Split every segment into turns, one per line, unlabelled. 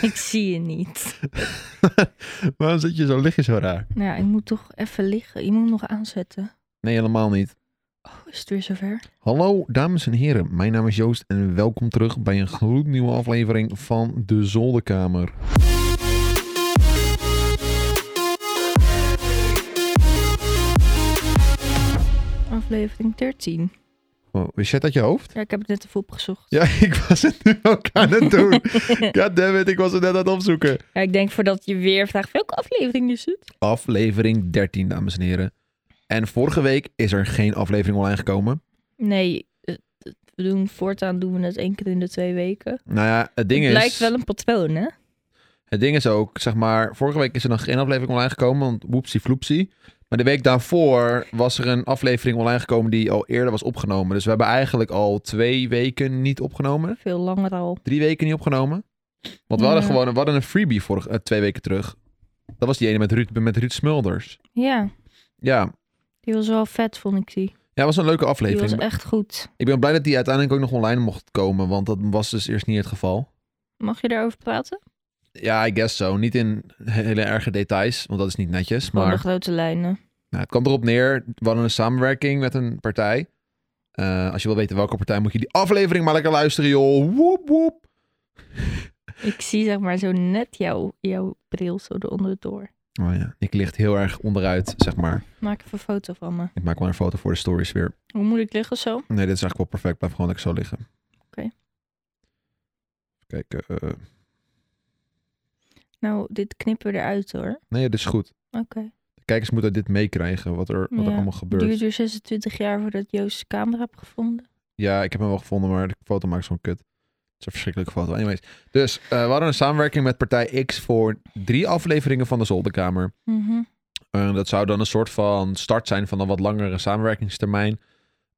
Ik zie je niet.
Waarom zit je zo liggen zo raar?
Nou, ja, ik moet toch even liggen. Je moet hem nog aanzetten.
Nee, helemaal niet.
Oh, is het weer zover?
Hallo dames en heren, mijn naam is Joost en welkom terug bij een gloednieuwe aflevering van De Zolderkamer.
Aflevering 13.
Oh, Wist jij dat je hoofd?
Ja, ik heb het net even opgezocht.
Ja, ik was het nu ook aan het doen. Goddammit, ik was het net aan het opzoeken.
Ja, ik denk voordat je weer vraagt welke aflevering is het?
Aflevering 13, dames en heren. En vorige week is er geen aflevering online gekomen.
Nee, eh, we doen, voortaan doen we het één keer in de twee weken.
Nou ja, het ding
het
is...
lijkt wel een patroon, hè?
Het ding is ook, zeg maar, vorige week is er nog geen aflevering online gekomen, want woepsie floepsie. Maar de week daarvoor was er een aflevering online gekomen die al eerder was opgenomen. Dus we hebben eigenlijk al twee weken niet opgenomen.
Veel langer al.
Drie weken niet opgenomen. Want we hadden
Ja.
gewoon we hadden een freebie vorige, eh, twee weken terug. Dat was die ene met Ruud, met Ruud Smulders.
Ja,
Ja.
die was wel vet, vond ik die.
ja, was een leuke
Die was
aflevering.
echt goed.
Ik ben blij dat die uiteindelijk ook nog online mocht komen, want dat was dus eerst niet het geval.
Mag je daarover praten?
Ja, I guess so. Niet in hele erge details, want dat is niet netjes.
Gewoon
Maar
de grote lijnen.
Nou, het kwam erop neer, we hadden een samenwerking met een partij. Eh, als je wil weten welke partij, moet je die aflevering maar lekker luisteren, joh. Woep, woep.
Ik zie zeg maar zo net jouw, jouw bril zo eronder door.
Oh ja, ik ligt heel erg onderuit, zeg maar.
Maak even een foto van me.
Ik maak wel een foto voor de stories weer.
Hoe moet ik liggen zo?
Nee, dit is eigenlijk wel perfect. Blijf gewoon lekker zo liggen.
Oké.
Kijk, eh, eh,
Nou, dit knippen we eruit hoor.
nee, dit is goed.
Oké.
De kijkers moeten dit meekrijgen, wat er, wat er
Ja,
allemaal gebeurt.
Duurt er 26 jaar voordat Joost zijn camera heb gevonden.
Ja, ik heb hem wel gevonden, maar de foto maakt zo'n kut. Het is een verschrikkelijke foto. Anyways, dus eh, we hadden een samenwerking met partij X voor drie afleveringen van de Zolderkamer.
Mhm.
Eh, dat zou dan een soort van start zijn van een wat langere samenwerkingstermijn.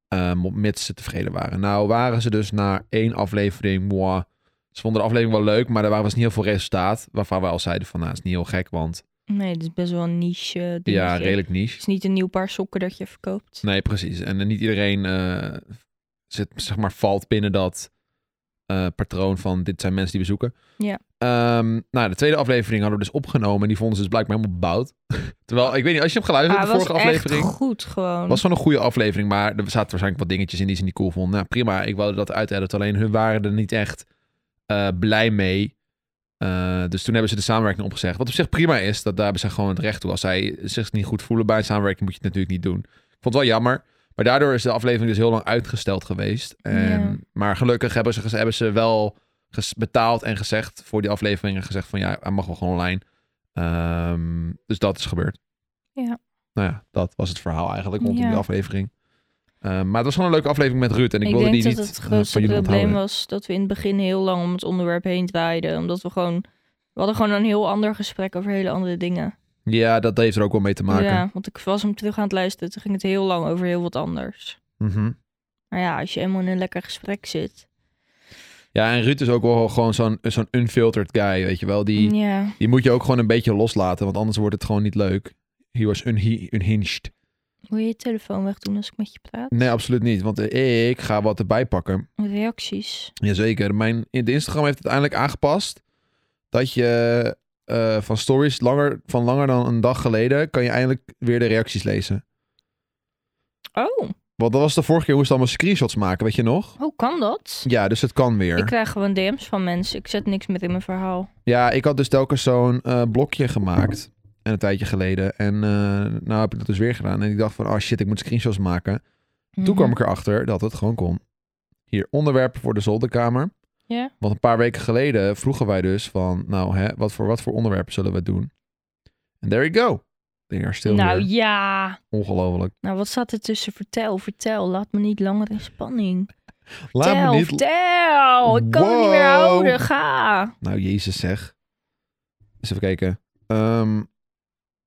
eh, mits ze tevreden waren. Nou waren ze dus na één aflevering. moi, ze vonden de aflevering wel leuk, maar er was niet heel veel resultaat. Waarvan we al zeiden van nou, het is niet heel gek, want
Nee, dit is best wel een niche. eh, dingetje.
ja, redelijk
Het
niche.
is niet een nieuw paar sokken dat je verkoopt.
Nee, precies. En eh, niet iedereen eh, zit, zeg maar, valt binnen dat eh, patroon van dit zijn mensen die we zoeken.
Ja.
Ehm, nou, de tweede aflevering hadden we dus opgenomen en die vonden ze dus blijkbaar helemaal bout. Terwijl, ik weet niet, als je hem geluisterd
Ah,
hebt, de
was
vorige aflevering.
echt goed gewoon.
Het was gewoon een goede aflevering, maar er zaten waarschijnlijk wat dingetjes in die ze niet cool vonden. Nou, prima, ik wilde dat uitediten. Alleen hun waren er niet echt eh, blij mee. Eh, dus toen hebben ze de samenwerking opgezegd. Wat op zich prima is, dat daar hebben ze gewoon het recht toe. Als zij zich niet goed voelen bij een samenwerking, moet je het natuurlijk niet doen. Ik vond het wel jammer. Maar daardoor is de aflevering dus heel lang uitgesteld geweest. En,
Ja.
Maar gelukkig hebben ze, gez- hebben ze wel ges- betaald en gezegd voor die aflevering. En gezegd van ja, hij mag wel gewoon online. Ehm, dus dat is gebeurd.
Ja.
Nou ja, dat was het verhaal eigenlijk rondom
Ja.
die aflevering. Ehm, maar het was gewoon een leuke aflevering met Ruud. En ik,
ik
wilde
denk
die
dat
niet
het
eh,
grootste
van jullie
probleem
onthouden.
was dat we in het begin heel lang om het onderwerp heen draaiden. Omdat we gewoon... We hadden gewoon een heel ander gesprek over hele andere dingen.
Ja, dat heeft er ook wel mee te maken.
Ja, want ik was hem terug aan het luisteren. Toen ging het heel lang over heel wat anders.
Mhm.
Maar ja, als je eenmaal in een lekker gesprek zit.
ja, en Ruud is ook wel gewoon zo'n zo'n unfiltered guy, weet je wel. Die,
Ja.
die moet je ook gewoon een beetje loslaten, want anders wordt het gewoon niet leuk. He was unhi- unhinged.
Wil je je telefoon wegdoen als ik met je praat?
Nee, absoluut niet, want eh, ik ga wat erbij pakken.
Reacties.
Jazeker. Mijn, in de Instagram heeft het uiteindelijk aangepast dat je eh, van stories langer, van langer dan een dag geleden kan je eindelijk weer de reacties lezen.
Oh,
Want dat was de vorige keer hoe ze allemaal screenshots maken, weet je nog?
hoe kan dat?
Ja, dus het kan weer.
Ik krijg gewoon DM's van mensen. Ik zet niks meer in mijn verhaal.
Ja, ik had dus telkens zo'n eh, blokje gemaakt. En een tijdje geleden. En eh, nou heb ik dat dus weer gedaan. En ik dacht van, oh shit, ik moet screenshots maken. Toen
Mhm.
kwam ik erachter dat het gewoon kon. Hier, onderwerpen voor de zolderkamer.
Ja.
Want een paar weken geleden vroegen wij dus van... Nou, hè, wat, voor, wat voor onderwerpen zullen we doen? En there you go. Ding er stil
Nou
weer.
ja.
Ongelooflijk.
Nou, wat staat er tussen? Vertel, vertel. Laat me niet langer in spanning.
Laat
vertel,
me niet...
vertel. Ik kan me niet meer
Wow.
houden. Ga.
Nou, jezus zeg. Eens even kijken. Ehm,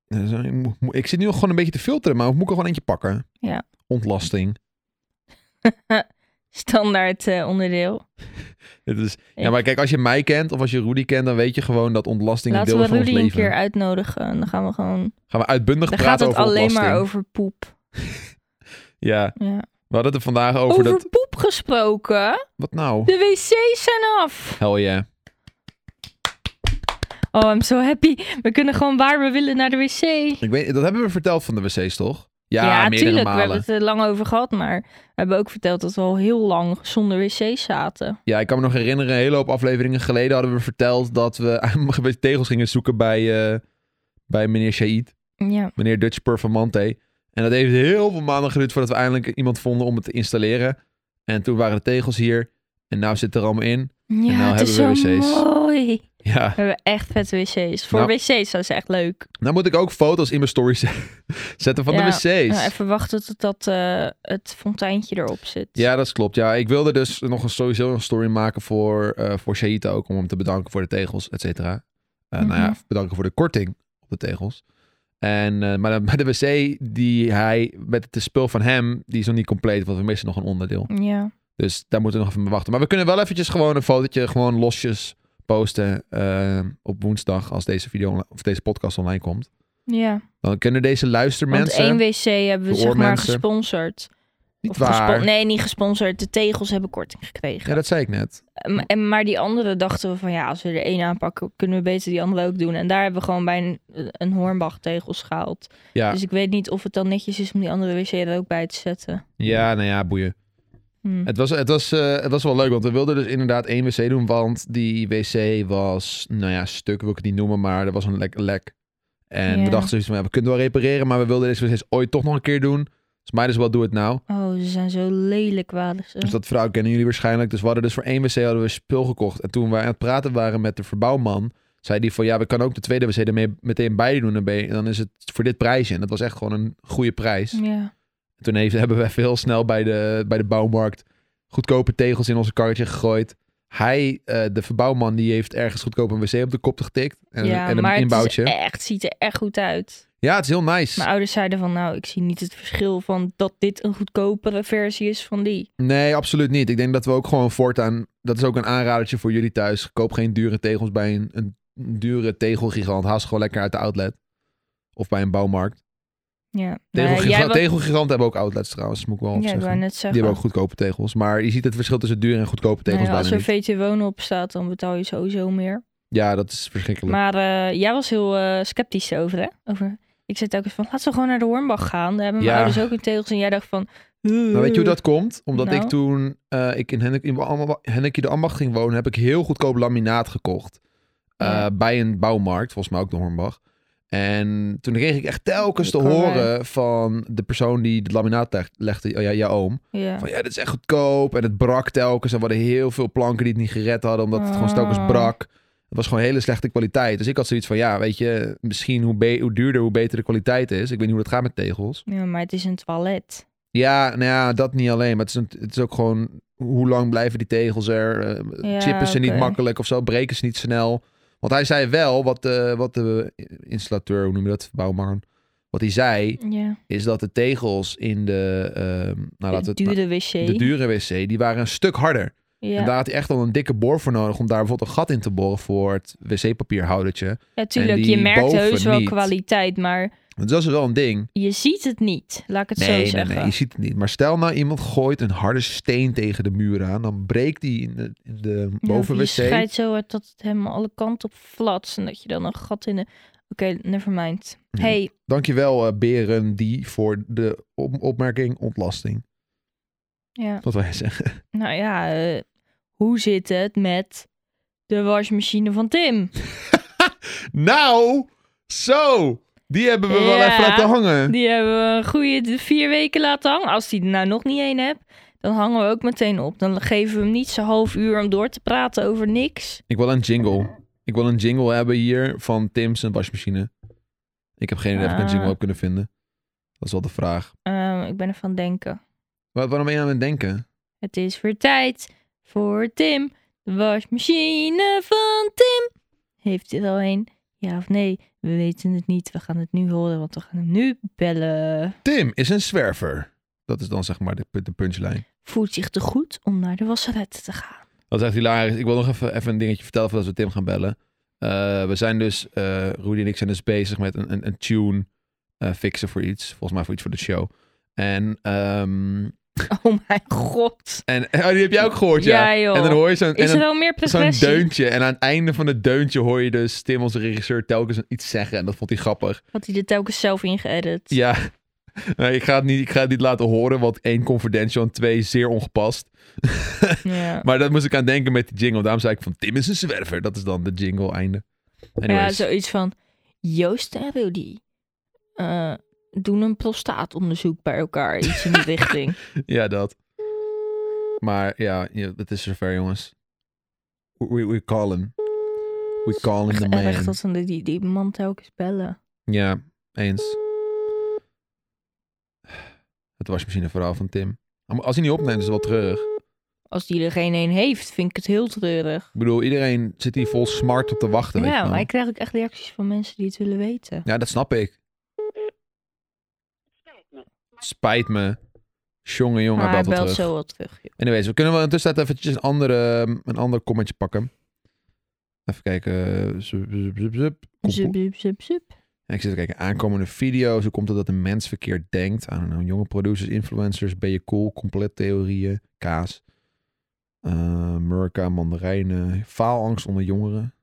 eh, ik moet- moet- ik zit nu al gewoon een beetje te filteren, maar moet ik er gewoon eentje pakken?
Ja.
Ontlasting.
Standaard eh, onderdeel.
Dit is, ja, maar kijk, als je mij kent of als je Rudy kent, dan weet je gewoon dat ontlasting
Laten
een
we
deel is van ons
Rudy een
leven.
keer uitnodigen. Dan gaan we gewoon.
Gaan we uitbundig
Dan gaat
praten
het
over
alleen maar
ontlasting.
over poep.
Ja,
Ja.
we hadden het er vandaag over,
Over,
dat...
poep gesproken.
Wat nou?
De wc's zijn af.
Hell yeah.
Oh, I'm so happy. We kunnen gewoon waar we willen naar de wc.
Ik weet, dat hebben we verteld van de wc's, toch? Ja, meerdere
tuurlijk. We
malen.
hebben het er lang over gehad, maar we hebben ook verteld dat we al heel lang zonder wc's zaten.
Ja, ik kan me nog herinneren, een hele hoop afleveringen geleden hadden we verteld dat we tegels gingen zoeken bij, eh, bij meneer Shaid,
Ja.
meneer Dutch Performante. En dat heeft heel veel maanden geduurd voordat we eindelijk iemand vonden om het te installeren. En toen waren de tegels hier en nou zit er allemaal in.
Ja,
nou
het is zo
hebben we wc's.
mooi.
Ja,
We hebben echt vet wc's. Voor
Nou.
wc's dat is echt leuk.
nou moet ik ook foto's in mijn stories zetten van
Ja,
de wc's.
Nou, even wachten tot dat, eh, het fonteintje erop zit.
Ja, dat klopt. Ja, ik wilde dus nog een, sowieso een story maken voor, eh voor Shaita ook. Om hem te bedanken voor de tegels, et cetera. Eh, Nou
Mhm.
ja, bedanken voor de korting op de tegels. En, eh, maar, de, maar de wc die hij, met het spul van hem, die is nog niet compleet. Want we missen nog een onderdeel.
Ja.
Dus daar moeten we nog even mee wachten. Maar we kunnen wel eventjes gewoon een fotootje, gewoon losjes posten. eh, op woensdag, als deze, video onli- of deze podcast online komt.
ja.
Dan kunnen deze
Want
luistermensen...
één wc hebben we
de
zeg maar
oormensen.
gesponsord.
niet
Of gespo-
waar.
nee, niet gesponsord. De tegels hebben korting gekregen.
Ja, dat zei ik net.
M- en, maar die andere dachten we van ja, als we er één aanpakken, kunnen we beter die andere ook doen. En daar hebben we gewoon bij een, een hoornbach tegels gehaald.
Ja,
Dus ik weet niet of het dan netjes is om die andere wc er ook bij te zetten.
ja nou ja, boeien.
Hm.
Het was, het, was, eh, het was wel leuk, want we wilden dus inderdaad één wc doen. Want die wc was, nou ja, stuk wil ik het niet noemen, maar er was een lek. lek. En
Ja.
we dachten zoiets van, ja, we kunnen wel repareren, maar we wilden deze wc's ooit toch nog een keer doen. Dus mij dus wel, doe het nou.
Oh, ze zijn zo lelijk waren ze.
Dus dat verhaal kennen jullie waarschijnlijk. Dus we hadden dus voor één wc hadden we spul gekocht. En toen we aan het praten waren met de verbouwman, zei die van, ja, we kunnen ook de tweede wc ermee meteen bij doen. En ben- en dan is het voor dit prijsje. En dat was echt gewoon een goede prijs.
Ja.
Toen heeft, hebben we even heel snel bij de, bij de bouwmarkt goedkope tegels in onze karretje gegooid. Hij, eh, de verbouwman, die heeft ergens goedkoop een wc op de kop getikt. En,
ja,
en een
maar
inbouwtje.
het is e- echt, ziet er echt goed uit.
Ja, het is heel nice.
Mijn ouders zeiden van nou, ik zie niet het verschil van dat dit een goedkopere versie is van die.
Nee, absoluut niet. Ik denk dat we ook gewoon voortaan... Dat is ook een aanradertje voor jullie thuis. Koop geen dure tegels bij een, een dure tegelgigant. Haal ze gewoon lekker uit de outlet. Of bij een bouwmarkt.
Ja.
Tegelgigant,
jij wat-
tegelgiganten hebben ook outlets trouwens, moet ik wel
ja, ik
zeggen.
wou net
Die
zeggen.
hebben ook goedkope tegels. Maar je ziet het verschil tussen dure en goedkope tegels
Nou ja, als
bijna
er
niet.
VT wonen op staat, dan betaal je sowieso meer.
Ja, dat is verschrikkelijk.
Maar eh, jij was heel eh, sceptisch over, hè? Over... Ik zei telkens van, laten we gewoon naar de Hornbach gaan. Daar hebben mijn
Ja.
ouders ook een tegels. En jij dacht van...
Maar Nou, weet je hoe dat komt? Omdat
Nou.
ik toen eh, ik in Hennek, in Amba- Hennekje de Ambacht ging wonen, heb ik heel goedkoop laminaat gekocht. Eh,
Ja.
Bij een bouwmarkt, volgens mij ook de Hornbach. En toen kreeg ik echt telkens te
Kan wij.
horen van de persoon die het laminaat leg- legde, oh ja, jouw oom.
Ja.
Van ja, dit is echt goedkoop. En het brak telkens. En we hadden heel veel planken die het niet gered hadden, omdat het gewoon telkens
Ah.
brak. Het was gewoon hele slechte kwaliteit. Dus ik had zoiets van, ja, weet je, misschien hoe, be- hoe duurder, hoe beter de kwaliteit is. Ik weet niet hoe dat gaat met tegels.
ja, maar het is een toilet.
Ja, nou ja, dat niet alleen. Maar het is, een- het is ook gewoon hoe lang blijven die tegels er? Eh,
Ja,
chippen ze
oké.
niet makkelijk of zo? Breken ze niet snel? Want hij zei wel, wat de, wat de installateur, hoe noem je dat, bouwman, wat hij zei,
Ja.
is dat de tegels in de, ehm, nou, laten
de
we het-
dure wc.
de dure wc, die waren een stuk harder.
ja.
En daar had hij echt al een dikke boor voor nodig om daar bijvoorbeeld een gat in te boren voor het wc-papierhoudertje.
ja, tuurlijk. Je
die
merkt
boven
heus wel
niet.
kwaliteit, maar
Dus dat is wel een ding.
je ziet het niet. Laat ik het zo
Nee, nee,
zeggen.
nee, je ziet het niet. Maar stel nou iemand gooit een harde steen tegen de muur aan. Dan breekt die in de, in de
Ja,
boven
Je
wc.
scheidt zo hard dat het helemaal alle kanten op flats. En dat je dan een gat in de... Oké, nevermind.
Ja.
Hey,
Dankjewel eh Beren die voor de op- opmerking ontlasting.
ja.
Wat wij zeggen.
Nou ja, eh, hoe zit het met de wasmachine van Tim?
Nou, zo! Die hebben we wel
Ja.
even laten hangen.
Die hebben we een goede d- vier weken laten hangen. Als die er nou nog niet één hebt, dan hangen we ook meteen op. Dan geven we hem niet zo'n half uur om door te praten over niks.
Ik wil een jingle. Ik wil een jingle hebben hier van Tim's en wasmachine. Ik heb geen idee of ik een
Ah.
jingle heb kunnen vinden. Dat is wel de vraag.
Ehm, ik ben ervan denken.
Wa- waarom ben je aan het denken?
Het is weer tijd voor Tim. De wasmachine van Tim. Heeft dit al een? Ja of nee? We weten het niet. We gaan het nu horen, want we gaan hem nu bellen.
Tim is een zwerver. Dat is dan zeg maar de, de punchline.
Voelt zich te goed om naar de wasseret te gaan.
Dat is echt hilarisch. Ik wil nog even, even een dingetje vertellen voordat we Tim gaan bellen. Eh, we zijn dus, eh Rudy en ik zijn dus bezig met een, een, een tune eh, fixen voor iets. Volgens mij voor iets voor de show. En ehm,
Oh mijn god.
En oh, die heb jij ook gehoord, ja.
Ja, joh.
En dan hoor je zo'n en
Is er
dan-
wel meer
zo'n
progressie?
deuntje. En aan het einde van het deuntje hoor je dus Tim, onze regisseur, telkens een- iets zeggen. En dat vond hij grappig.
Had hij er telkens zelf in geëdit?
Ja. Nee, ik, ga het niet, ik ga het niet laten horen, want één confidential en twee zeer ongepast.
Ja.
Maar dat moest ik aan denken met die jingle. Daarom zei ik van Tim is een zwerver. Dat is dan de jingle einde.
Ja,
Anyways.
zoiets van... Joost en Rudy eh, doen een prostaatonderzoek bij elkaar. Iets in die richting.
Ja, dat. Maar ja, ja, het is zover, jongens. We, we call him. We call him the
En echt
man.
eh, dat ze die, die man telkens bellen.
Ja, eens. Het wasmachine verhaal van Tim. Maar als hij niet opneemt, is het wel treurig.
Als die er geen een heeft, vind ik het heel treurig.
Ik bedoel, iedereen zit hier vol smart op te wachten. weet je
ja,
wel.
maar ik krijg ook echt reacties van mensen die het willen weten.
ja, dat snap ik. Spijt me. Jongen, jongen,
maar hij
hij belt wel
belt
terug.
zo wat terug. joh.
Anyways, we kunnen wel in de tussentijd eventjes een, andere, ehm, een ander commentje pakken. Even kijken. eh, Zup, zup, zup, zup. Kom-
Zup, zup, zup, zup.
En ik zit te kijken, aankomende video's. Hoe komt het dat een mens verkeerd denkt? Aan know, jonge producers, influencers, ben je cool, compleet theorieën, kaas. eh Murka, mandarijnen, faalangst onder jongeren.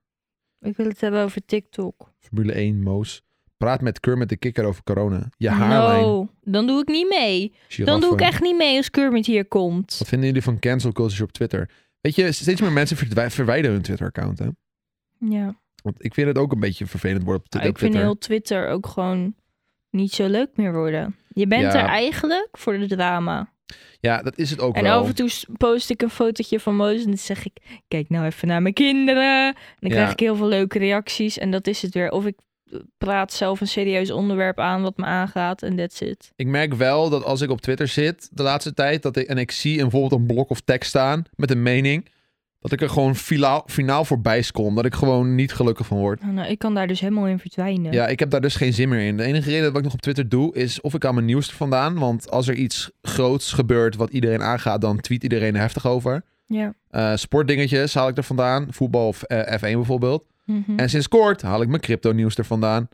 Ik wil het hebben over TikTok.
Formule 1, Moos. Praat met Kermit de Kikker over corona. Je haarlijn,
No, dan doe ik niet mee. Dan
giraffen.
doe ik echt niet mee als Kermit hier komt.
Wat vinden jullie van cancel culture op Twitter? Weet je, steeds meer mensen verdwij- verwijderen hun Twitter-account, hè?
Ja.
Want ik vind het ook een beetje vervelend worden op
Maar
Twitter.
ik vind heel Twitter ook gewoon niet zo leuk meer worden. Je bent
Ja.
er eigenlijk voor de drama.
Ja, dat is het ook
en
wel.
af en toe s- post ik een fotootje van Mozes en dan zeg ik... Kijk nou even naar mijn kinderen. En dan
Ja.
krijg ik heel veel leuke reacties. En dat is het weer. Of ik praat zelf een serieus onderwerp aan wat me aangaat. En that's it.
Ik merk wel dat als ik op Twitter zit de laatste tijd... Dat ik, en ik zie een- bijvoorbeeld een blok of tekst staan met een mening... dat ik er gewoon finaal, finaal voorbij kom. Dat ik gewoon niet gelukkig van word.
Nou, nou, ik kan daar dus helemaal in verdwijnen.
Ja, ik heb daar dus geen zin meer in. De enige reden dat ik nog op Twitter doe... is of ik aan mijn nieuws er vandaan. Want als er iets groots gebeurt wat iedereen aangaat... dan tweet iedereen er heftig over.
Ja.
Eh, sportdingetjes haal ik er vandaan. Voetbal of eh, F1 bijvoorbeeld.
Mhm.
En sinds kort haal ik mijn crypto nieuws er vandaan.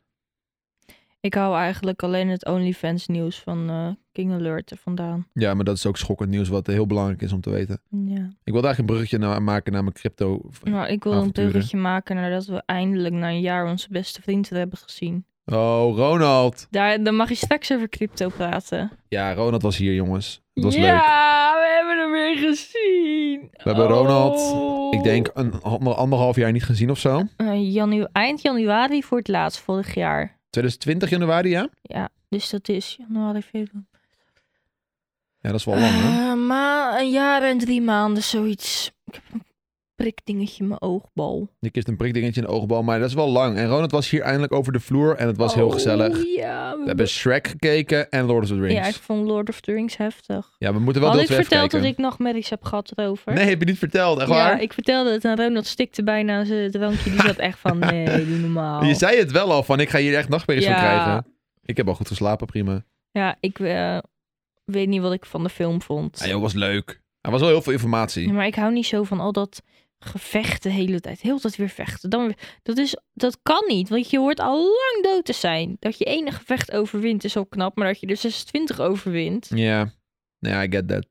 Ik hou eigenlijk alleen het OnlyFans nieuws van eh, King Alert er vandaan.
Ja, maar dat is ook schokkend nieuws wat heel belangrijk is om te weten.
Ja.
Ik wil daar een bruggetje naar maken naar mijn crypto.
Nou, ik wil
avonturen.
een bruggetje maken nadat we eindelijk na een jaar onze beste vriend hebben gezien.
Oh, Ronald.
Daar, dan mag je straks over crypto praten.
Ja, Ronald was hier, jongens. Het was leuk.
ja, we hebben hem weer gezien.
We hebben Ronald,
Oh.
Ik denk een ander- anderhalf jaar niet gezien of zo.
Eh, janu- eind januari voor het laatst, vorig jaar.
2020 januari, ja?
Ja, dus dat is januari, februari.
Ja, dat is wel lang, hè?
Eh, maar een jaar en drie maanden, zoiets. Ik heb een prikdingetje in mijn oogbal.
Ik is een prikdingetje in de oogbal, maar dat is wel lang. En Ronald was hier eindelijk over de vloer en het was heel
Oh,
gezellig.
Ja, we
We hebben Shrek gekeken en Lord of the
Ja, ik
Rings.
vond Lord of the Rings heftig.
Ja, we moeten wel
Had ik
dat even
verteld
kijken.
dat ik nachtmerries heb gehad erover?
Nee, heb je niet verteld, echt
Ja,
waar?
ik vertelde het en Ronald stikte bijna aan zijn drankje. Die zat echt van, nee, doe normaal.
Je zei het wel al van, ik ga hier echt nachtmerries van
Ja.
krijgen. Ik heb al goed geslapen, prima.
Ja, ik eh, weet niet wat ik van de film vond.
Ah, Ja, joh, was leuk. Er was wel heel veel informatie.
Ja, maar ik hou niet zo van al dat gevecht de hele tijd. Heel de tijd weer vechten. Dan weer- dat, is, dat kan niet, want je hoort al lang dood te zijn. Dat je ene gevecht overwint is al knap, maar dat je er 26 overwint.
Ja, ja, I get that.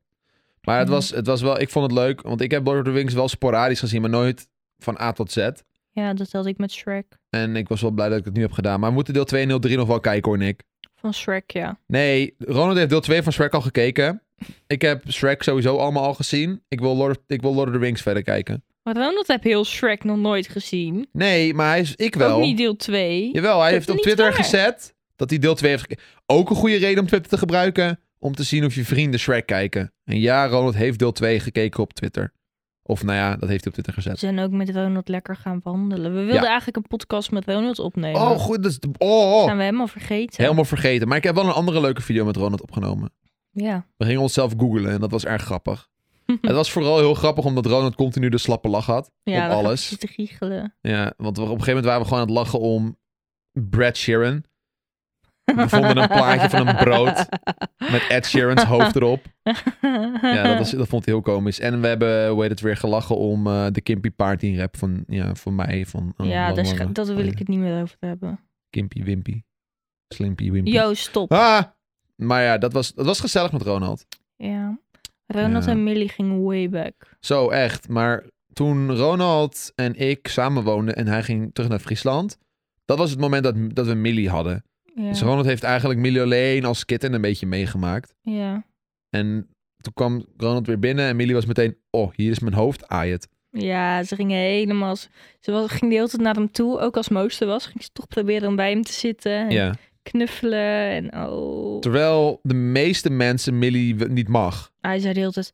Maar het
Ja.
was, het was wel, ik vond het leuk, want ik heb Lord of the Rings wel sporadisch gezien, maar nooit van A tot Z.
Ja, dat had ik met Shrek.
En ik was wel blij dat ik het nu heb gedaan. Maar we moeten deel 2 en deel 3 nog wel kijken hoor, Nick.
Van Shrek, ja.
Nee, Ronald heeft deel 2 van Shrek al gekeken. Ik heb Shrek sowieso allemaal al gezien. Ik wil Lord of, ik wil Lord of the Rings verder kijken.
Maar Ronald heb heel Shrek nog nooit gezien.
Nee, maar hij is, ik wel.
Ook niet deel 2.
Jawel, hij
Dat
heeft
is
op
niet
Twitter
waar.
gezet dat hij deel 2 heeft gekeken. Ook een goede reden om Twitter te gebruiken. Om te zien of je vrienden Shrek kijken. En ja, Ronald heeft deel 2 gekeken op Twitter. Of nou ja, dat heeft hij op Twitter
We
gezet.
zijn ook met Ronald lekker gaan wandelen. We wilden
Ja.
eigenlijk een podcast met Ronald opnemen.
Oh, goed. Dat is de- oh,
Dat
oh.
zijn we helemaal vergeten.
Helemaal vergeten. Maar ik heb wel een andere leuke video met Ronald opgenomen.
Ja.
We gingen onszelf googlen en dat was erg grappig. het was vooral heel grappig omdat Ronald continu de slappe lach had.
ja,
op
dan gaat
alles.
hij te giechelen.
Ja, want we- op een gegeven moment waren we gewoon aan het lachen om Brad Sheeran. We vonden een plaatje van een brood met Ed Sheeran's hoofd erop. Ja, dat, was, dat vond ik heel komisch. En we hebben, hoe heet het weer, gelachen om eh, de Kimpy Party rap van, ja, van mij. Van, oh,
Ja,
lang,
daar scha-
lange-
dat wil ik het niet meer over hebben.
Kimpy Wimpy. Slimpy Wimpy.
Yo, stop.
Ah! Maar ja, dat was, dat was gezellig met Ronald.
Ja. Ronald
Ja.
en Millie gingen way back.
Zo echt. Maar toen Ronald en ik samen woonden en hij ging terug naar Friesland. Dat was het moment dat, dat we Millie hadden.
Ja.
Dus Ronald heeft eigenlijk Millie alleen als kitten een beetje meegemaakt.
ja.
En toen kwam Ronald weer binnen en Millie was meteen... Oh, hier is mijn hoofd, aai het.
Ja, ze gingen helemaal... Ze was, ging de hele tijd naar hem toe. Ook als Moos er was, ging ze toch proberen om bij hem te zitten. En
Ja.
knuffelen. En oh...
Terwijl de meeste mensen Millie w- niet mag.
Hij zei de hele tijd...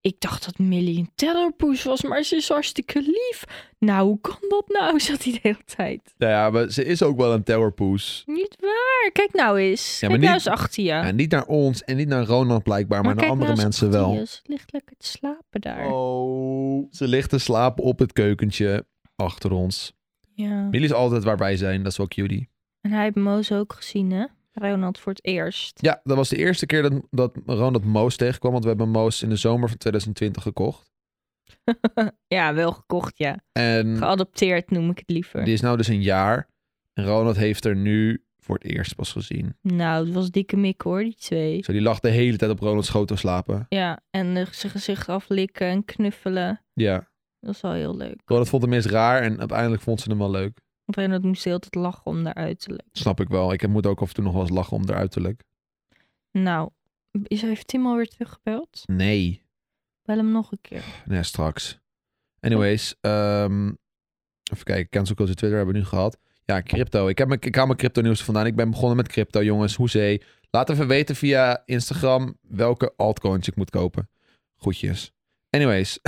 Ik dacht dat Millie een terrorpoes was, maar ze is hartstikke lief. Nou, hoe kan dat nou? Zat hij de hele tijd.
Nou ja, maar ze is ook wel een towerpoes.
Niet waar. Kijk nou eens.
Ja, maar
kijk nou
niet-
eens achter je.
En niet naar ons en niet naar Ronald blijkbaar, maar, naar
kijk
andere
nou eens
mensen
achter
wel.
je. Ze ligt lekker te slapen daar.
Oh, ze ligt te slapen op het keukentje achter ons.
Ja.
Millie is altijd waar wij zijn, dat is wel cutie.
En hij heeft Moos ook gezien, hè? Ronald voor het eerst.
Ja, dat was de eerste keer dat, dat Ronald Moos tegenkwam, want we hebben Moos in de zomer van 2020 gekocht.
Ja, wel gekocht, ja.
En
Geadopteerd noem ik het liever.
Hm. die is nou dus een jaar. En Ronald heeft er nu voor het eerst pas gezien.
Nou, het was dikke mik hoor, die twee.
Zo, die lag de hele tijd op Ronald's schoot te slapen.
Ja, en eh, zijn gezicht aflikken en knuffelen.
Ja,
Dat was wel heel leuk.
Ronald vond hem eerst raar en uiteindelijk vond ze hem wel leuk.
Want Ronald moest de hele tijd lachen om haar uiterlijk.
Snap ik wel. Ik moet ook af en toe nog wel eens lachen om haar uiterlijk.
Nou, is, heeft Tim alweer teruggebeld?
Nee.
Bel hem nog een keer.
Nee, straks. Anyways, ehm, even kijken. Cancel Culture Twitter hebben we nu gehad. Ja, crypto. Ik, heb mijn, ik haal mijn crypto nieuws vandaan. Ik ben begonnen met crypto, jongens. Hoezee. Laat even weten via Instagram welke altcoins ik moet kopen. Goedjes. Anyways.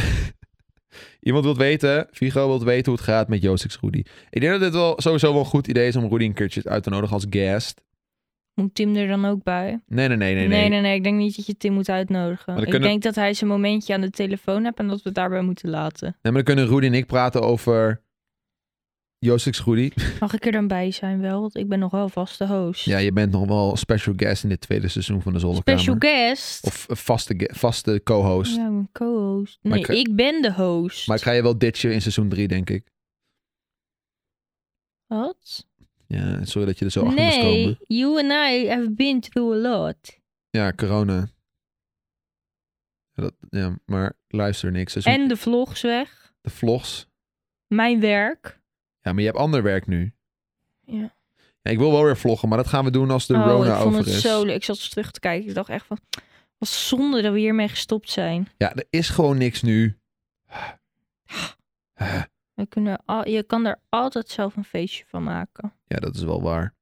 Iemand wilt weten, Vigo wilt weten hoe het gaat met Joostix Rudy. Ik denk dat dit wel sowieso wel een goed idee is om Rudy een keertje uit te nodigen als guest.
Moet Tim er dan ook bij?
Nee, nee, nee, nee. nee.
Ik denk niet dat je Tim moet uitnodigen.
dan
Ik
kunnen-
denk dat hij zijn momentje aan de telefoon heeft en dat we het daarbij moeten laten.
Nee, maar dan kunnen Rudy en ik praten over Joostix Rudy.
Mag ik er dan bij zijn wel? Want ik ben nog wel vaste host.
Ja, je bent nog wel special guest in dit tweede seizoen van de Zolderkamer.
Special guest.
Of een vaste, ge- vaste co-host.
Ja, een co-host.
Maar
Nee,
ik
ik,
ga-
ben de host.
Maar ik ga je wel ditchen in seizoen 3, denk ik.
Wat?
Ja, sorry dat je er zo achter moest
Nee,
komen.
you and I have been through a lot.
Ja, corona. Ja, dat, ja, maar luister niks. Seizoen,
En de vlogs weg.
De vlogs.
Mijn werk.
Ja, maar je hebt ander werk nu.
Ja.
Ja, ik wil wel weer vloggen, maar dat gaan we doen als de
oh,
Rona
ik vond
over
het
is.
zo leuk. Ik zat eens terug te kijken. Ik dacht echt van, wat zonde dat we hiermee gestopt zijn.
Ja, er is gewoon niks nu.
We kunnen al, je kan er altijd zelf een feestje van maken.
Ja, dat is wel waar.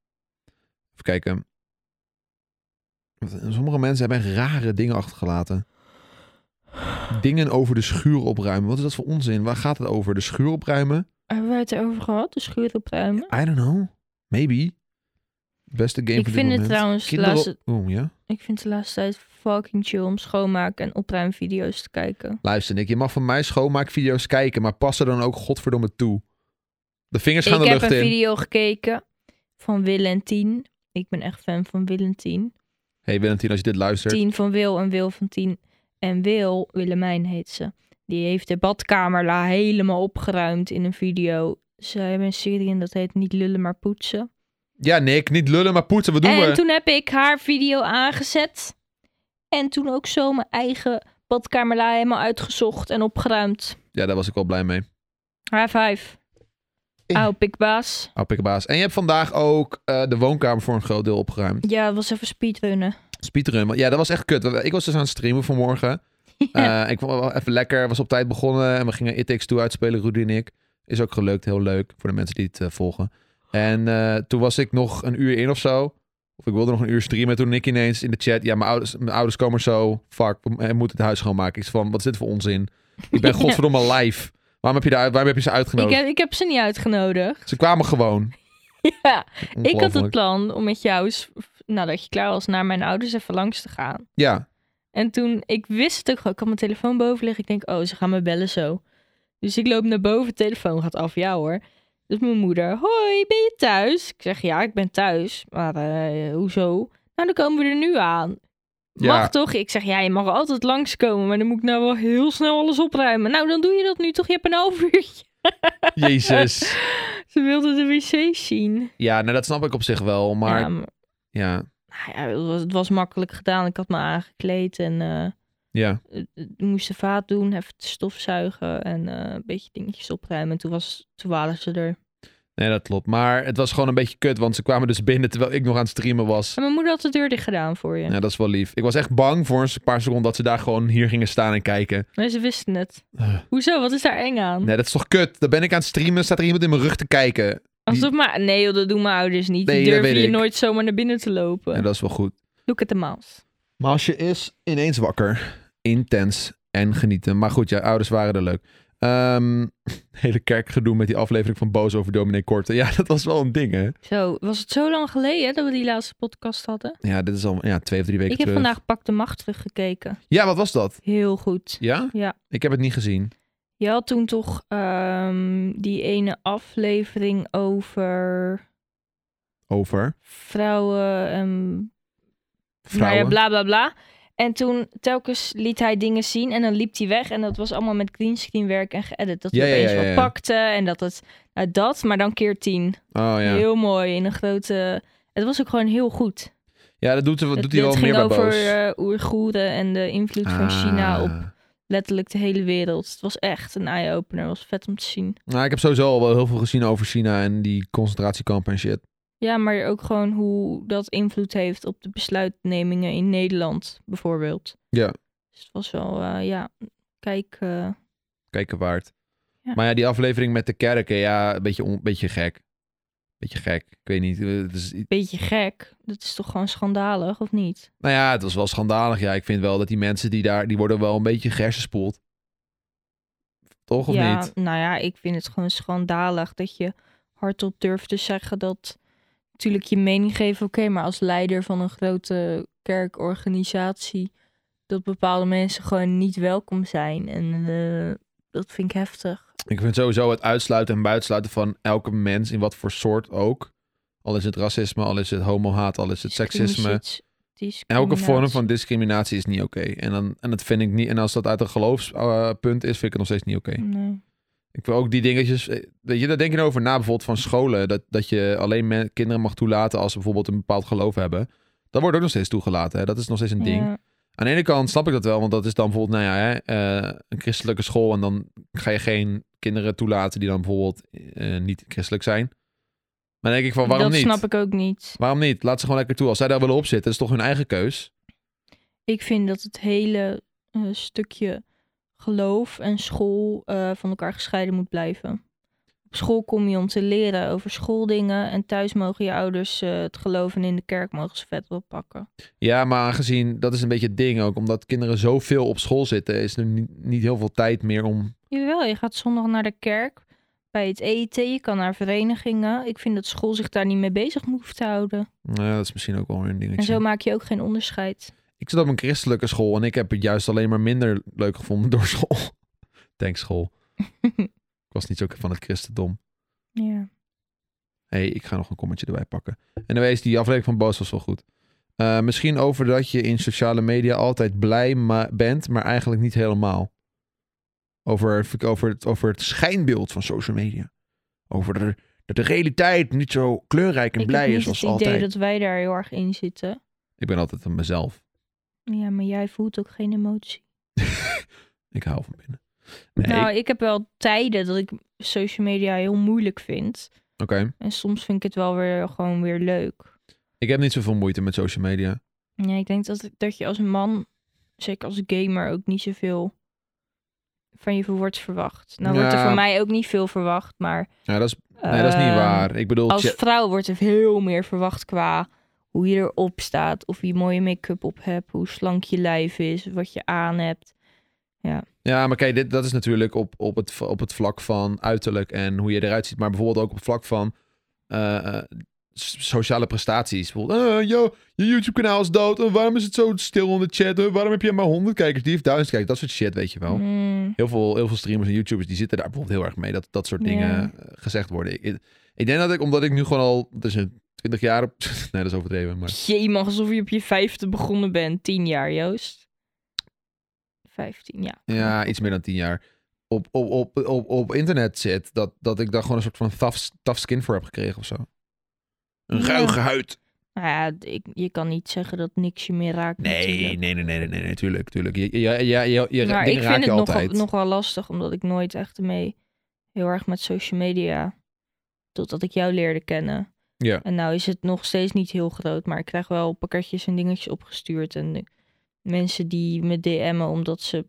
Even kijken. eh, Sommige mensen hebben echt rare dingen achtergelaten. Dingen over de schuur opruimen. Wat is dat voor onzin? Waar gaat het over? De schuur opruimen?
Hebben we het erover gehad? De schuur opruimen?
I don't know. Maybe. Beste game
Ik
van dit
vind het
moment.
trouwens de
Kinderen-
laatste-
Oeh, ja?
Ik vind de laatste tijd fucking chill om schoonmaken en opruimvideo's te kijken.
Luister Nick, je mag van mij schoonmaakvideo's kijken, maar pas er dan ook godverdomme toe. De vingers gaan
ik
de
heb
lucht
een
in.
video gekeken van Will en Tien. Ik ben echt fan van Will en Tien.
hey Willentien, als je dit luistert.
Tien van Wil en Wil van Tien. En Wil, Willemijn heet ze. Die heeft de badkamer la helemaal opgeruimd in een video. Ze hebben een serie en dat heet Niet lullen maar poetsen.
Ja Nick, niet lullen, maar poetsen. Wat doen
en
we?
toen heb ik haar video aangezet. En toen ook zo mijn eigen badkamer la helemaal uitgezocht en opgeruimd.
Ja, daar was ik wel blij mee.
High five.
Eh.
Auw, pikbaas.
Oh, pikkenbaas. En je hebt vandaag ook eh, de woonkamer voor een groot deel opgeruimd.
Ja, het was even speedrunnen.
Speedrun. want Ja, dat was echt kut. Ik was dus aan het streamen vanmorgen.
Ja.
Eh, ik vond het wel even lekker. Was op tijd begonnen. En we gingen It Takes Two uitspelen, Rudy en ik. Is ook gelukt. Heel leuk voor de mensen die het eh, volgen. En eh, toen was ik nog een uur in of zo. Of ik wilde nog een uur streamen. Toen ik ineens in de chat. Ja, mijn ouders, mijn ouders komen zo. Fuck, we eh, moeten het huis schoonmaken. Ik zei van, wat is dit voor onzin? Ik ben godverdomme live. Waarom heb je, daar, waarom heb je ze
Ik
uitgenodigd?
heb, ik heb ze niet uitgenodigd.
Ze kwamen gewoon.
Ja, ik had het
Ongelooflijk.
plan om met jou, eens, nadat je klaar was, naar mijn ouders even langs te gaan.
Ja,
En toen, ik wist het ook gewoon, ik had mijn telefoon boven liggen. Ik denk, oh, ze gaan me bellen zo. Dus ik loop naar boven, telefoon gaat af, ja hoor. Dus mijn moeder, hoi, ben je thuis? Ik zeg, ja, ik ben thuis. Maar eh, hoezo? Nou, dan komen we er nu aan.
Ja.
Mag toch? Ik zeg, ja, je mag altijd langskomen, maar dan moet ik nou wel heel snel alles opruimen. Nou, dan doe je dat nu toch? Je hebt een half uurtje.
jezus.
Ze wilde de wc zien.
Ja, nou dat snap ik op zich wel. Maar
Ja, maar-
ja.
Nou ja, het, was, het was makkelijk gedaan. Ik had me aangekleed en eh,
Ja,
ik moest de vaat doen, even stofzuigen en eh, een beetje dingetjes opruimen. En toen, was, toen waren ze er.
nee, dat klopt. Maar het was gewoon een beetje kut, want ze kwamen dus binnen terwijl ik nog aan het streamen was.
En mijn moeder had de deur dicht gedaan voor je.
Ja, dat is wel lief. Ik was echt bang voor een paar seconden dat ze daar gewoon hier gingen staan en kijken.
Maar ze wisten het.
Ugh.
Hoezo? Wat is daar eng aan?
Eh. Nee, dat is toch kut? Dan ben ik aan het streamen, staat er iemand in mijn rug te kijken.
Alsof maar... Nee joh, dat doen mijn ouders niet.
Nee,
Die
dat
durven
weet
je
ik.
nooit zomaar naar binnen te lopen.
En dat is wel goed.
Look at the mouse.
Maar als je is ineens wakker, intens en genieten. Maar goed, ja, ouders waren er leuk. Ehm hele kerkgedoe met die aflevering van Boos over dominee Korte. Ja, dat was wel een ding, hè?
Zo, was het zo lang geleden dat we die laatste podcast hadden?
Ja, dit is al ja, twee of drie weken
Ik heb
terug.
vandaag Pak de Macht teruggekeken.
Ja, wat was dat?
Heel goed.
Ja?
Ja.
Ik heb het niet gezien.
Je had toen toch ehm, die ene aflevering over
Over
vrouwen en
vrouwen.
Nou ja, bla bla bla. En toen telkens liet hij dingen zien en dan liep hij weg. En dat was allemaal met greenscreen werk en geëdit. Dat hij
Ja, ja,
opeens
ja, ja,
wat
ja.
pakte en dat het nou, dat, maar dan keer tien.
Oh ja.
Heel mooi in een grote... Het was ook gewoon heel goed.
Ja, dat doet,
het,
doet hij wel
het
meer
ging
bij
over
Boos.
eh, Oeigoeren en de invloed van
Ah.
China op letterlijk de hele wereld. Het was echt een eye-opener. Het was vet om te zien.
Nou, ik heb sowieso al wel heel veel gezien over China en die concentratiekampen en shit.
Ja, maar ook gewoon hoe dat invloed heeft op de besluitnemingen in Nederland, bijvoorbeeld.
Ja.
Dus het was wel, eh, ja, kijk... eh,
Kijken waard.
Ja.
Maar ja, die aflevering met de kerken, ja, een beetje, on, beetje gek. Beetje gek. Ik weet niet. eh, Het is,
beetje gek. Dat is toch gewoon schandalig, of niet?
nou ja, het was wel schandalig. Ja, ik vind wel dat die mensen die daar, die worden wel een beetje gersenspoeld. Toch of
ja,
niet?
nou ja, ik vind het gewoon schandalig dat je hardop durft te zeggen dat natuurlijk je mening geven, oké, maar als leider van een grote kerkorganisatie dat bepaalde mensen gewoon niet welkom zijn. En eh, dat vind ik heftig.
Ik vind sowieso het uitsluiten en buitensluiten van elke mens, in wat voor soort ook. Al is het racisme, al is het homohaat, al is het seksisme.
Discriminatie.
Elke vorm van discriminatie is niet oké. En, dan, en dat vind ik niet. En als dat uit een geloofspunt is, vind ik het nog steeds niet oké.
Nee.
Ik wil ook die dingetjes. eh, Weet je, daar denk je over na bijvoorbeeld van scholen. Dat, dat je alleen men- kinderen mag toelaten als ze bijvoorbeeld een bepaald geloof hebben. Dat wordt ook nog steeds toegelaten. Hè? Dat is nog steeds een ding.
Ja.
Aan de ene kant snap ik dat wel, want dat is dan bijvoorbeeld, nou ja, hè, eh, een christelijke school. En dan ga je geen kinderen toelaten die dan bijvoorbeeld eh, niet christelijk zijn. Maar dan denk ik van, waarom
dat
niet?
snap ik ook niet.
Waarom niet? Laat ze gewoon lekker toe. Als zij daar willen opzitten, dat is toch hun eigen keus.
Ik vind dat het hele eh, stukje geloof en school eh, van elkaar gescheiden moet blijven. Op school kom je om te leren over schooldingen en thuis mogen je ouders eh, het geloof en in de kerk mogen ze vet wel pakken.
Ja, maar aangezien dat is een beetje het ding ook, omdat kinderen zoveel op school zitten, is er niet, niet heel veel tijd meer om.
Jawel, je gaat zondag naar de kerk bij het eten, je kan naar verenigingen. Ik vind dat school zich daar niet mee bezig moet hoeven te houden.
Nou, ja, dat is misschien ook wel weer een
En
dingetje.
zo maak je ook geen onderscheid.
Ik zat op een christelijke school en ik heb het juist alleen maar minder leuk gevonden door school. Tankschool. ik was niet zo van het christendom.
Ja.
Hé, hey, ik ga nog een kommetje erbij pakken. En dan is die aflevering van Boos was wel goed. Eh, misschien over dat je in sociale media altijd blij ma- bent, maar eigenlijk niet helemaal. Over, over, het, over het schijnbeeld van social media. Over dat, er- dat de realiteit niet zo kleurrijk en
Ik heb
blij
niet
is
het
als
idee
altijd.
dat wij daar heel erg in zitten.
Ik ben altijd mezelf.
Ja, maar jij voelt ook geen emotie.
Ik hou van binnen. Nee,
nou,
ik-
ik... heb wel tijden dat ik social media heel moeilijk vind.
Oké.
En soms vind ik het wel weer gewoon weer leuk.
Ik heb niet zoveel moeite met social media.
Ja, ik denk dat, dat je als man, zeker als gamer, ook niet zoveel van je wordt verwacht. Nou wordt er
Ja.
van mij ook niet veel verwacht, maar...
Ja, dat is, nee, dat is niet
ehm,
waar. Ik bedoel,
Als
tja-
vrouw wordt er veel meer verwacht qua hoe je erop staat. Of je mooie make-up op hebt, hoe slank je lijf is, wat je aan hebt.
ja, maar kijk, dit, dat is natuurlijk op, op, het, v- op het vlak van uiterlijk en hoe je eruit ziet. Maar bijvoorbeeld ook op het vlak van eh, eh, s- sociale prestaties. Bijvoorbeeld, eh, yo, je YouTube-kanaal is dood. Eh, waarom is het zo stil in de chat? Eh, waarom heb je maar 100 kijkers, die heeft 1000 kijkers? Dat soort shit, weet je wel.
Mm,
Heel veel, heel veel streamers en YouTubers die zitten daar bijvoorbeeld heel erg mee. Dat dat soort
Ja.
dingen eh, gezegd worden. Ik, ik- ik denk dat ik, omdat ik nu gewoon al tussen 20 jaar... op- nee, dat is overdreven, maar...
Jee, man, alsof je op je vijfde begonnen bent. Tien jaar, Joost. Vijftien, ja.
ja, iets meer dan tien jaar, op, op, op, op, op internet zit, dat, dat ik daar gewoon een soort van tough, tough skin voor heb gekregen of zo. Een
Ja.
ruige huid.
Nou ja, ik, je kan niet zeggen dat niks je meer raakt.
Nee,
natuurlijk.
nee, nee, nee, nee, nee, nee, tuurlijk, tuurlijk. Je, ja, ja, je, je,
maar
dingen
ik
raak
vind
je
het
altijd.
nog, nog wel lastig, omdat ik nooit echt mee heel erg met social media. Totdat ik jou leerde kennen.
Ja.
En nou is het nog steeds niet heel groot, maar ik krijg wel pakketjes en dingetjes opgestuurd. En de- mensen die me DM'en omdat ze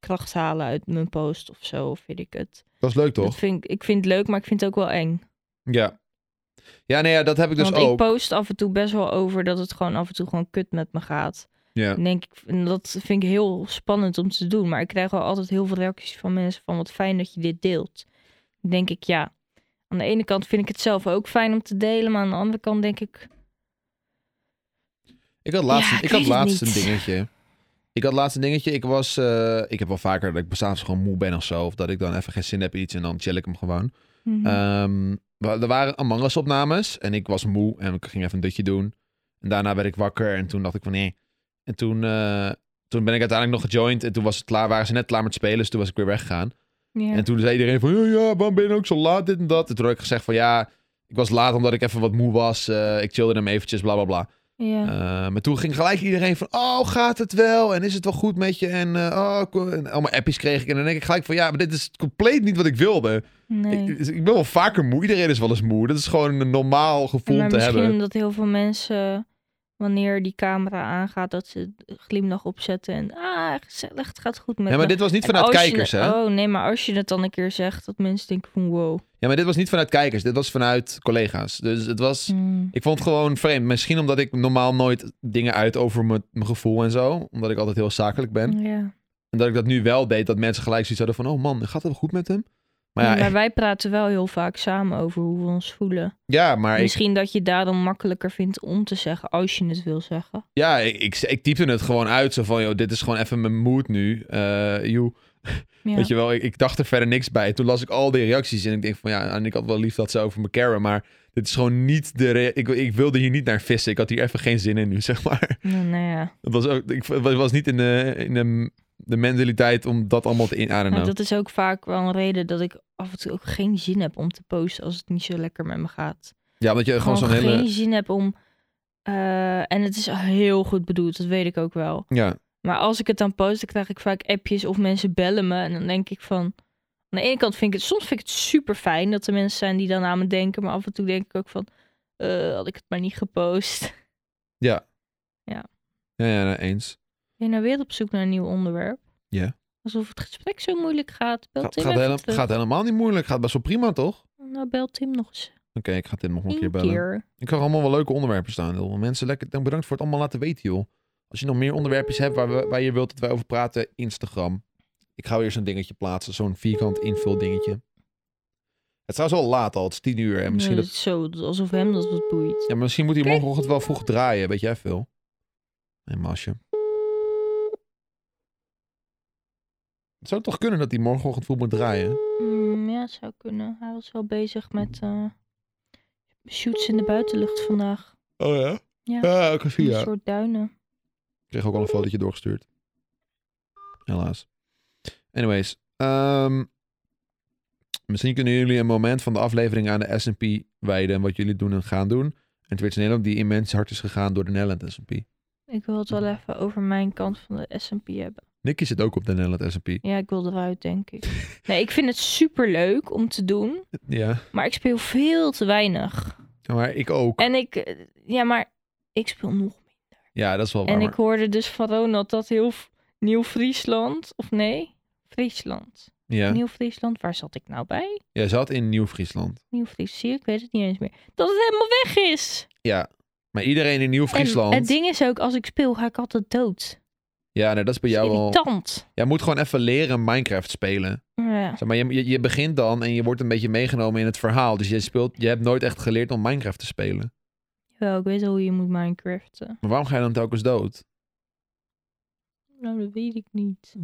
kracht halen uit mijn post of zo, of weet ik het.
Dat is leuk,
Dat
toch?
vind ik, ik vind het leuk, maar ik vind het ook wel eng.
Ja. Ja, nee, ja, dat heb ik dus
Want ik
ook.
post af en toe best wel over dat het gewoon af en toe gewoon kut met me gaat.
Ja.
En denk ik, en dat vind ik heel spannend om te doen. Maar ik krijg wel altijd heel veel reacties van mensen van wat fijn dat je dit deelt. Dan denk ik, ja. Aan de ene kant vind ik het zelf ook fijn om te delen. Maar aan de andere kant denk ik,
Ik had laatst,
Ja,
ik
ik
had
weet het
laatst een
niet.
dingetje. Ik had laatst een dingetje. Ik was, eh, ik heb wel vaker dat ik s'avonds gewoon moe ben of zo. Of dat ik dan even geen zin heb in iets en dan chill ik hem gewoon.
mhm,
Ehm, wa- er waren Among Us opnames en ik was moe en ik ging even een dutje doen. En daarna werd ik wakker en toen dacht ik van nee. En toen, eh, toen ben ik uiteindelijk nog gejoind en toen was het klaar, waren ze net klaar met spelen, dus toen was ik weer weggegaan.
ja.
En toen zei iedereen van, ja, ja, waarom ben je nou ook zo laat, dit en dat. En toen had ik gezegd van, ja, ik was laat omdat ik even wat moe was. eh, ik chillde hem eventjes, bla, bla, bla.
ja.
Eh, maar toen ging gelijk iedereen van, oh, gaat het wel? En is het wel goed met je? En, eh, oh, ko- en allemaal appjes kreeg ik. En dan denk ik gelijk van, ja, maar dit is compleet niet wat ik wilde.
nee.
Ik, ik ben wel vaker moe. Iedereen is wel eens moe. Dat is gewoon een normaal gevoel
maar
om te
misschien
hebben.
omdat heel veel mensen, wanneer die camera aangaat, dat ze de glimlach opzetten. En ah, gezellig, het gaat goed met
Ja, maar
me.
dit was niet
En
vanuit
als je
kijkers,
het-
hè?
Oh nee, maar als je het dan een keer zegt, dat mensen denken van wow.
Ja, maar dit was niet vanuit kijkers. Dit was vanuit collega's. Dus het was...
Mm.
Ik vond het gewoon vreemd. Misschien omdat ik normaal nooit dingen uit over mijn, mijn gevoel en zo. Omdat ik altijd heel zakelijk ben.
Ja.
En dat ik dat nu wel deed. Dat mensen gelijk zoiets hadden van... Oh man, gaat het wel goed met hem? Maar ja,
Mm, Maar, wij praten wel heel vaak samen over hoe we ons voelen.
ja maar ik,
Misschien dat je daarom makkelijker vindt om te zeggen als je het wil zeggen.
ja, ik, ik, ik typte het gewoon uit. Zo van, joh, dit is gewoon even mijn mood nu. Eh joe.
Ja.
Weet je wel, ik, ik dacht er verder niks bij. Toen las ik al die reacties en ik denk van ja, en ik had wel lief dat ze over me caren, maar dit is gewoon niet de... rea- Ik, ik wilde hier niet naar vissen. Ik had hier even geen zin in nu, zeg maar.
Nou, nou ja,
Het was, ook, ik, het was niet in de, in de, de mentaliteit om dat allemaal te in... I don't
maar
know.
dat is ook vaak wel een reden dat ik af en toe ook geen zin heb om te posten als het niet zo lekker met me gaat.
Ja, omdat
Eh,
je gewoon zo'n hele...
geen zin heb om. eh, en het is heel goed bedoeld, dat weet ik ook wel.
Ja,
Maar als ik het dan post, dan krijg ik vaak appjes of mensen bellen me. En dan denk ik van. Aan de ene kant vind ik het soms vind ik het super fijn dat er mensen zijn die dan aan me denken. Maar af en toe denk ik ook van. eh, had ik het maar niet gepost.
ja, ja nou, eens.
Ben je nou weer op zoek naar een nieuw onderwerp?
Ja.
Alsof het gesprek zo moeilijk gaat. Bel
Gaat,
Tim
gaat,
even
hele-
terug.
gaat helemaal niet moeilijk. Gaat best wel prima, toch? Oké,
Nou, bel Tim nog eens.
ik ga dit nog een
Eén keer.
keer bellen. Ik kan allemaal wel leuke onderwerpen staan. Joh. Mensen, lekker, dank- bedankt voor het allemaal laten weten, joh. Als je nog meer onderwerpjes hebt waar, we, waar je wilt dat wij over praten, Instagram. Ik ga weer zo'n dingetje plaatsen, zo'n vierkant invul dingetje. Het is trouwens al laat al, het is tien uur. En misschien,
Nee,
dat,
het is Zo, alsof hem dat wat boeit.
ja, maar misschien moet hij
Kijk.
morgenochtend wel vroeg draaien, weet jij veel? Nee, Masje. Het zou toch kunnen dat hij morgenochtend vroeg moet draaien?
Mm, ja, zou kunnen. Hij was wel bezig met eh, shoots in de buitenlucht vandaag.
Oh ja?
Ja.
Ja, ik
Een soort duinen.
Ik kreeg ook al een fotootje doorgestuurd. Helaas. Anyways. ehm, misschien kunnen jullie een moment van de aflevering aan de S&P wijden. Wat jullie doen en gaan doen. En Twitch Nederland die immens hard is gegaan door de Nederland S&P.
Ik wil het wel even over mijn kant van de S&P hebben.
Nicky zit ook op de Nederland S&P.
Ja, ik wil eruit, denk ik. Nee, ik vind het super leuk om te doen.
Ja.
Maar ik speel veel te weinig.
Maar ik ook.
En ik... eh, Ja, maar ik speel nog meer.
Ja, dat is wel waar.
En
maar-
ik hoorde dus van Ronald dat heel... F- Nieuw-Friesland... Of nee? Friesland.
Ja.
Nieuw-Friesland, waar zat ik nou bij?
Jij zat in Nieuw-Friesland.
Nieuw-Friesland, zie je, ik weet het niet eens meer. Dat het helemaal weg is!
Ja. Maar iedereen in Nieuw-Friesland...
En het ding is ook, als ik speel, ga ik altijd dood.
Ja, nee, dat is bij jou wel...
Irritant.
Jij moet gewoon even leren Minecraft spelen.
Ja.
Zeg maar, je, je, je begint dan en je wordt een beetje meegenomen in het verhaal. Dus je, speelt, je hebt nooit echt geleerd om Minecraft te spelen.
Wel, ik weet wel hoe je moet Minecraften.
Maar waarom ga je dan telkens dood?
Nou, dat weet ik niet.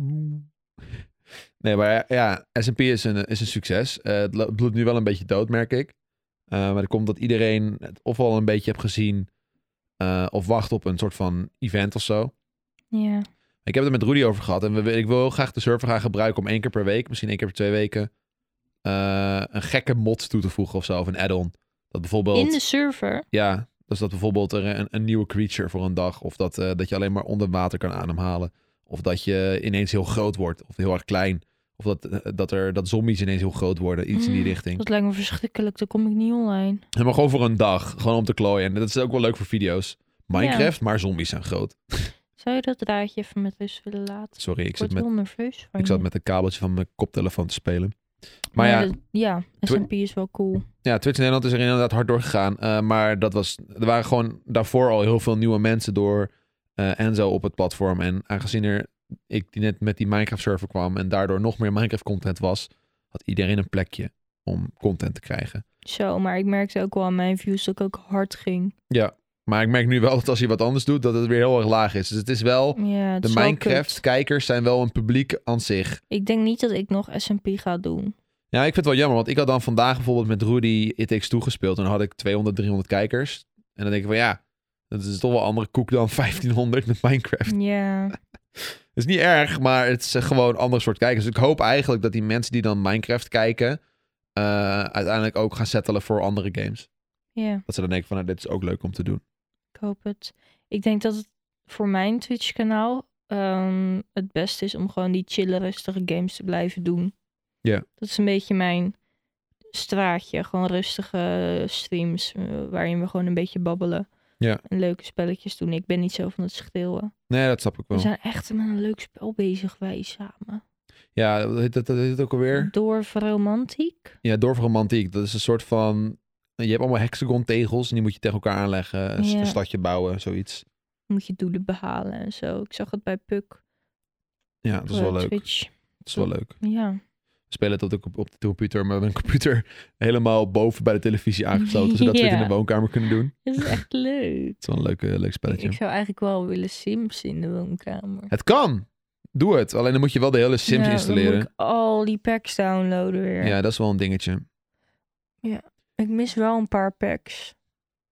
Nee, maar ja, S&P is een, is een succes. Eh, het lo- bloedt nu wel een beetje dood, merk ik. Eh, maar dat komt dat iedereen het of al een beetje heeft gezien... eh, of wacht op een soort van event of zo.
Ja.
Ik heb het er met Rudy over gehad. En we, ik wil heel graag de server gaan gebruiken om één keer per week, misschien één keer per twee weken... eh, een gekke mod toe te voegen of zo, of een add-on. Dat bijvoorbeeld...
In de server.
Ja, Dus dat bijvoorbeeld er een, een nieuwe creature voor een dag. Of dat, eh, dat je alleen maar onder water kan ademhalen. Of dat je ineens heel groot wordt. Of heel erg klein. Of dat, eh, dat, er, dat zombies ineens heel groot worden. Iets in die
Mm,
richting.
Dat lijkt me verschrikkelijk, daar kom ik niet online.
Ja, Maar gewoon voor een dag. Gewoon om te klooien. En dat is ook wel leuk voor video's. Minecraft, maar zombies zijn groot.
Zou je dat draadje even met rust willen laten?
Sorry, ik
Ik
zit
word
met,
heel nerveus van
ik zat
je.
met een kabeltje van mijn koptelefoon te spelen. Maar ja,
dat- ja, SMP is wel cool.
Ja, Twitch Nederland is er inderdaad hard door gegaan. eh, maar dat was, er waren gewoon daarvoor al heel veel nieuwe mensen door eh, en zo op het platform. En aangezien er, ik die net met die Minecraft server kwam en daardoor nog meer Minecraft content was, had iedereen een plekje om content te krijgen.
Zo, maar ik merkte ook wel aan mijn views dat ik ook hard ging.
Ja, maar ik merk nu wel dat als je wat anders doet, dat het weer heel erg laag is. Dus het is wel,
Ja, het Mm,
de
is wel kut.
Minecraft-kijkers zijn wel een publiek aan zich.
Ik denk niet dat ik nog SMP ga doen.
Ja, ik vind het wel jammer, want ik had dan vandaag bijvoorbeeld met Rudy It Takes Two gespeeld. En dan had ik 200, 300 kijkers. En dan denk ik van ja, dat is toch wel andere koek dan 1500 met Minecraft.
Ja,
Dat is niet erg, maar het is eh, gewoon een ander soort kijkers. Dus ik hoop eigenlijk dat die mensen die dan Minecraft kijken, eh, uiteindelijk ook gaan settelen voor andere games.
ja,
Dat ze dan denken van nou, dit is ook leuk om te doen.
ik hoop het. Ik denk dat het voor mijn Twitch-kanaal ehm, het beste is om gewoon die chille, rustige games te blijven doen.
Ja.
Dat is een beetje mijn straatje. Gewoon rustige streams eh, waarin we gewoon een beetje babbelen.
Ja.
En leuke spelletjes doen. Ik ben niet zo van het schreeuwen.
Nee, dat snap ik
We
wel.
zijn echt met een leuk spel bezig, wij samen.
Ja, dat heet dat, dat heet het ook alweer.
Door romantiek.
Ja, Dorfromantiek. Dat is een soort van... Je hebt allemaal hexagon tegels en die moet je tegen elkaar aanleggen. Een, s-
Ja.
een stadje bouwen, zoiets.
Moet je doelen behalen en zo. Ik zag het bij Puk.
Ja, dat is
eh,
wel leuk.
Twitch.
Dat is wel leuk.
Ja.
We spelen het op de, co- op de computer, maar we hebben een computer helemaal boven bij de televisie aangesloten, zodat we het
Ja.
in de woonkamer kunnen doen.
Dat is echt leuk.
Het is wel een leuk, eh, leuk spelletje.
Ik zou eigenlijk wel willen Sims in de woonkamer.
Het kan! Doe het. Alleen dan moet je wel de hele Sims
Ja, dan
installeren.
moet ik al die packs downloaden weer.
Ja, dat is wel een dingetje.
Ik mis wel een paar packs.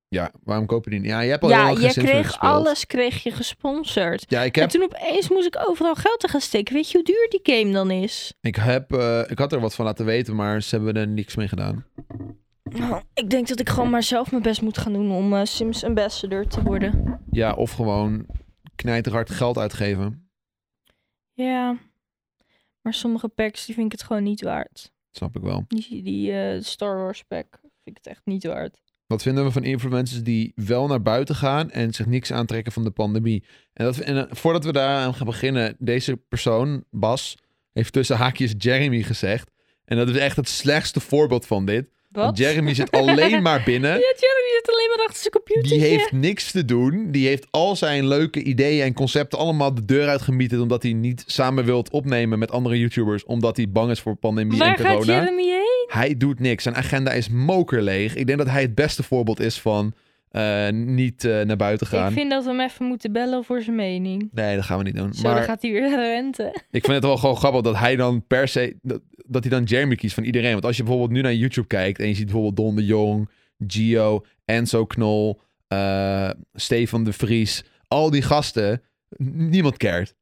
Ja, waarom koop je die niet? Ja, je hebt al
Ja,
heel lang geen
je
Sims meer
kreeg
gespeeld.
alles kreeg je gesponsord.
Ja, ik
En
heb,
toen opeens moest ik overal geld te gaan steken. Weet je hoe duur die game dan is?
ik, heb eh, ik had er wat van laten weten, maar ze hebben er niks mee gedaan.
Nou, ik denk dat ik gewoon maar zelf mijn best moet gaan doen om eh, Sims Ambassador te worden.
Ja, of gewoon knijterhard geld uitgeven.
Ja, maar sommige packs die vind ik het gewoon niet waard.
Snap ik wel.
Die, die eh, Star Wars pack vind ik het echt niet waard.
Wat vinden we van influencers die wel naar buiten gaan en zich niks aantrekken van de pandemie? En, dat, en eh, voordat we daar aan gaan beginnen, deze persoon, Bas, heeft tussen haakjes Jeremy gezegd. En dat is echt het slechtste voorbeeld van dit. Want
Wat?
Jeremy zit alleen maar binnen.
Ja, dus, Jeremy zit alleen maar achter zijn computer.
Die heeft niks te doen. Die heeft al zijn leuke ideeën en concepten allemaal de deur uitgemieterd. Omdat hij niet samen wilt opnemen met andere YouTubers. Omdat hij bang is voor pandemie en
Waar
corona.
gaat Jeremy heen?
Hij doet niks. Zijn agenda is mokerleeg. Ik denk dat hij het beste voorbeeld is van eh, niet eh, naar buiten gaan.
Ik vind dat we hem even moeten bellen voor zijn mening.
Nee, dat gaan we niet doen.
Zo,
maar
dan gaat hij weer rente.
ik vind het wel gewoon grappig dat hij dan per se... Dat, dat hij dan Jeremy kiest van iedereen. Want als je bijvoorbeeld nu naar YouTube kijkt... en je ziet bijvoorbeeld Don de Jong, Gio, Enzo Knol... eh, Stefan de Vries... al die gasten, n- niemand cared.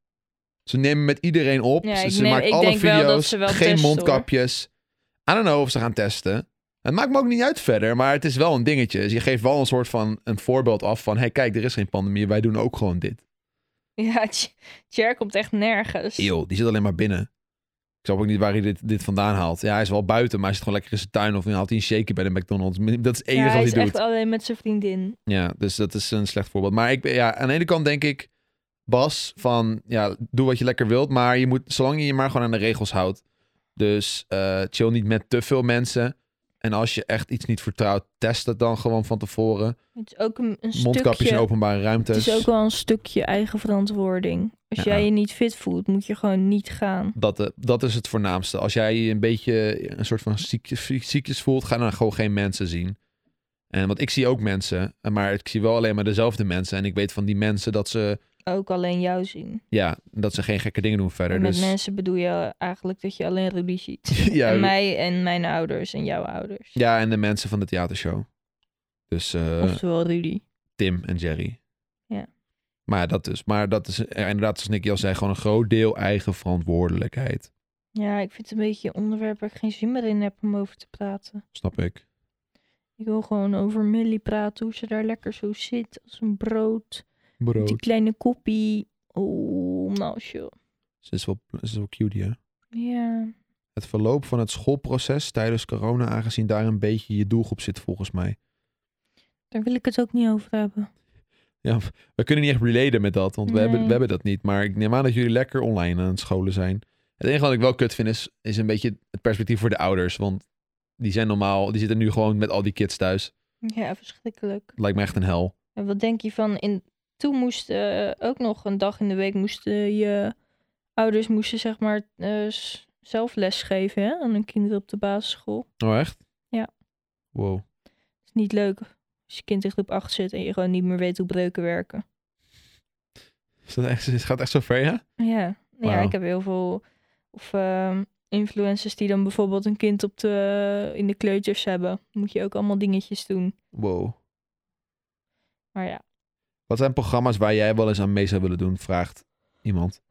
Ze nemen met iedereen op.
Ja,
ze
ik
ze
neem-
maken
ik
alle
denk wel dat
video's,
ze wel
geen
testen, hoor.
mondkapjes. I don't know of ze gaan testen. Het maakt me ook niet uit verder, maar het is wel een dingetje. Dus je geeft wel een soort van een voorbeeld af van... hey, kijk, er is geen pandemie, wij doen ook gewoon dit.
Ja, J- Jer komt echt nergens.
Eeuw, die zit alleen maar binnen. Ik snap ook niet waar hij dit, dit vandaan haalt. Ja, hij is wel buiten, maar hij zit gewoon lekker in zijn tuin. Of dan haalt hij een shaker bij de McDonald's. Dat is het enige
ja, hij
wat
is
hij doet.
echt alleen met zijn vriendin.
Ja, dus dat is een slecht voorbeeld. Maar ik, ben- ja, aan de ene kant denk ik, Bas, van ja, doe wat je lekker wilt. Maar je moet, zolang je je maar gewoon aan de regels houdt. Dus eh, chill niet met te veel mensen. En als je echt iets niet vertrouwt, test het dan gewoon van tevoren.
Het is ook een, een
Mondkapjes
stukje...
in openbare ruimtes.
Het is ook wel een stukje eigen verantwoording. Als
Ja.
jij je niet fit voelt, moet je gewoon niet gaan.
Dat, eh, dat is het voornaamste. Als jij je een beetje een soort van ziekjes, ziek- ziekjes voelt, ga dan gewoon geen mensen zien. En, want ik zie ook mensen, eh, maar ik zie wel alleen maar dezelfde mensen. En ik weet van die mensen dat ze,
Ook alleen jou zien.
ja, dat ze geen gekke dingen doen verder.
En met
dus,
mensen bedoel je eigenlijk dat je alleen Rudy ziet.
ja,
en mij en mijn ouders en jouw ouders.
ja, en de mensen van de theatershow. Dus eh,
Oftewel Rudy.
Tim en Jerry.
Ja.
Maar ja, dat dus. Maar dat is eh, inderdaad, zoals Nicky al zei, gewoon een groot deel eigen verantwoordelijkheid.
Ja, ik vind het een beetje een onderwerp waar ik geen zin meer in heb om over te praten.
Snap ik.
Ik wil gewoon over Millie praten, hoe ze daar lekker zo zit als een brood. Die kleine koppie. Oh, nou, joh.
Ze is wel, ze is wel cute, hè?
Ja.
Het verloop van het schoolproces tijdens corona, aangezien daar een beetje je doelgroep zit, volgens mij.
Daar wil ik het ook niet over hebben.
Ja, we kunnen niet echt relaten met dat, want we, hebben,
Nee.
we hebben dat niet. Maar ik neem aan dat jullie lekker online aan het scholen zijn. Het enige wat ik wel kut vind is, is een beetje het perspectief voor de ouders. Want die zijn normaal, die zitten nu gewoon met al die kids thuis.
Ja, verschrikkelijk.
Het lijkt me echt een hel.
En wat denk je van, in, toen moest eh, ook nog een dag in de week moesten je ouders moesten zeg maar eh, s- zelf les geven hè, aan hun kinderen op de basisschool.
Oh, echt?
Ja.
Wow.
is niet leuk als je kind in groep 8 zit en je gewoon niet meer weet hoe breuken werken.
Is dat echt, het gaat echt zo ver, ja?
Ja, ja
Wauw.
ik heb heel veel of, ehm, influencers die dan bijvoorbeeld een kind op de, in de kleuters hebben. Moet je ook allemaal dingetjes doen.
Wow.
Maar ja,
Wat zijn programma's waar jij wel eens aan mee zou willen doen, vraagt iemand.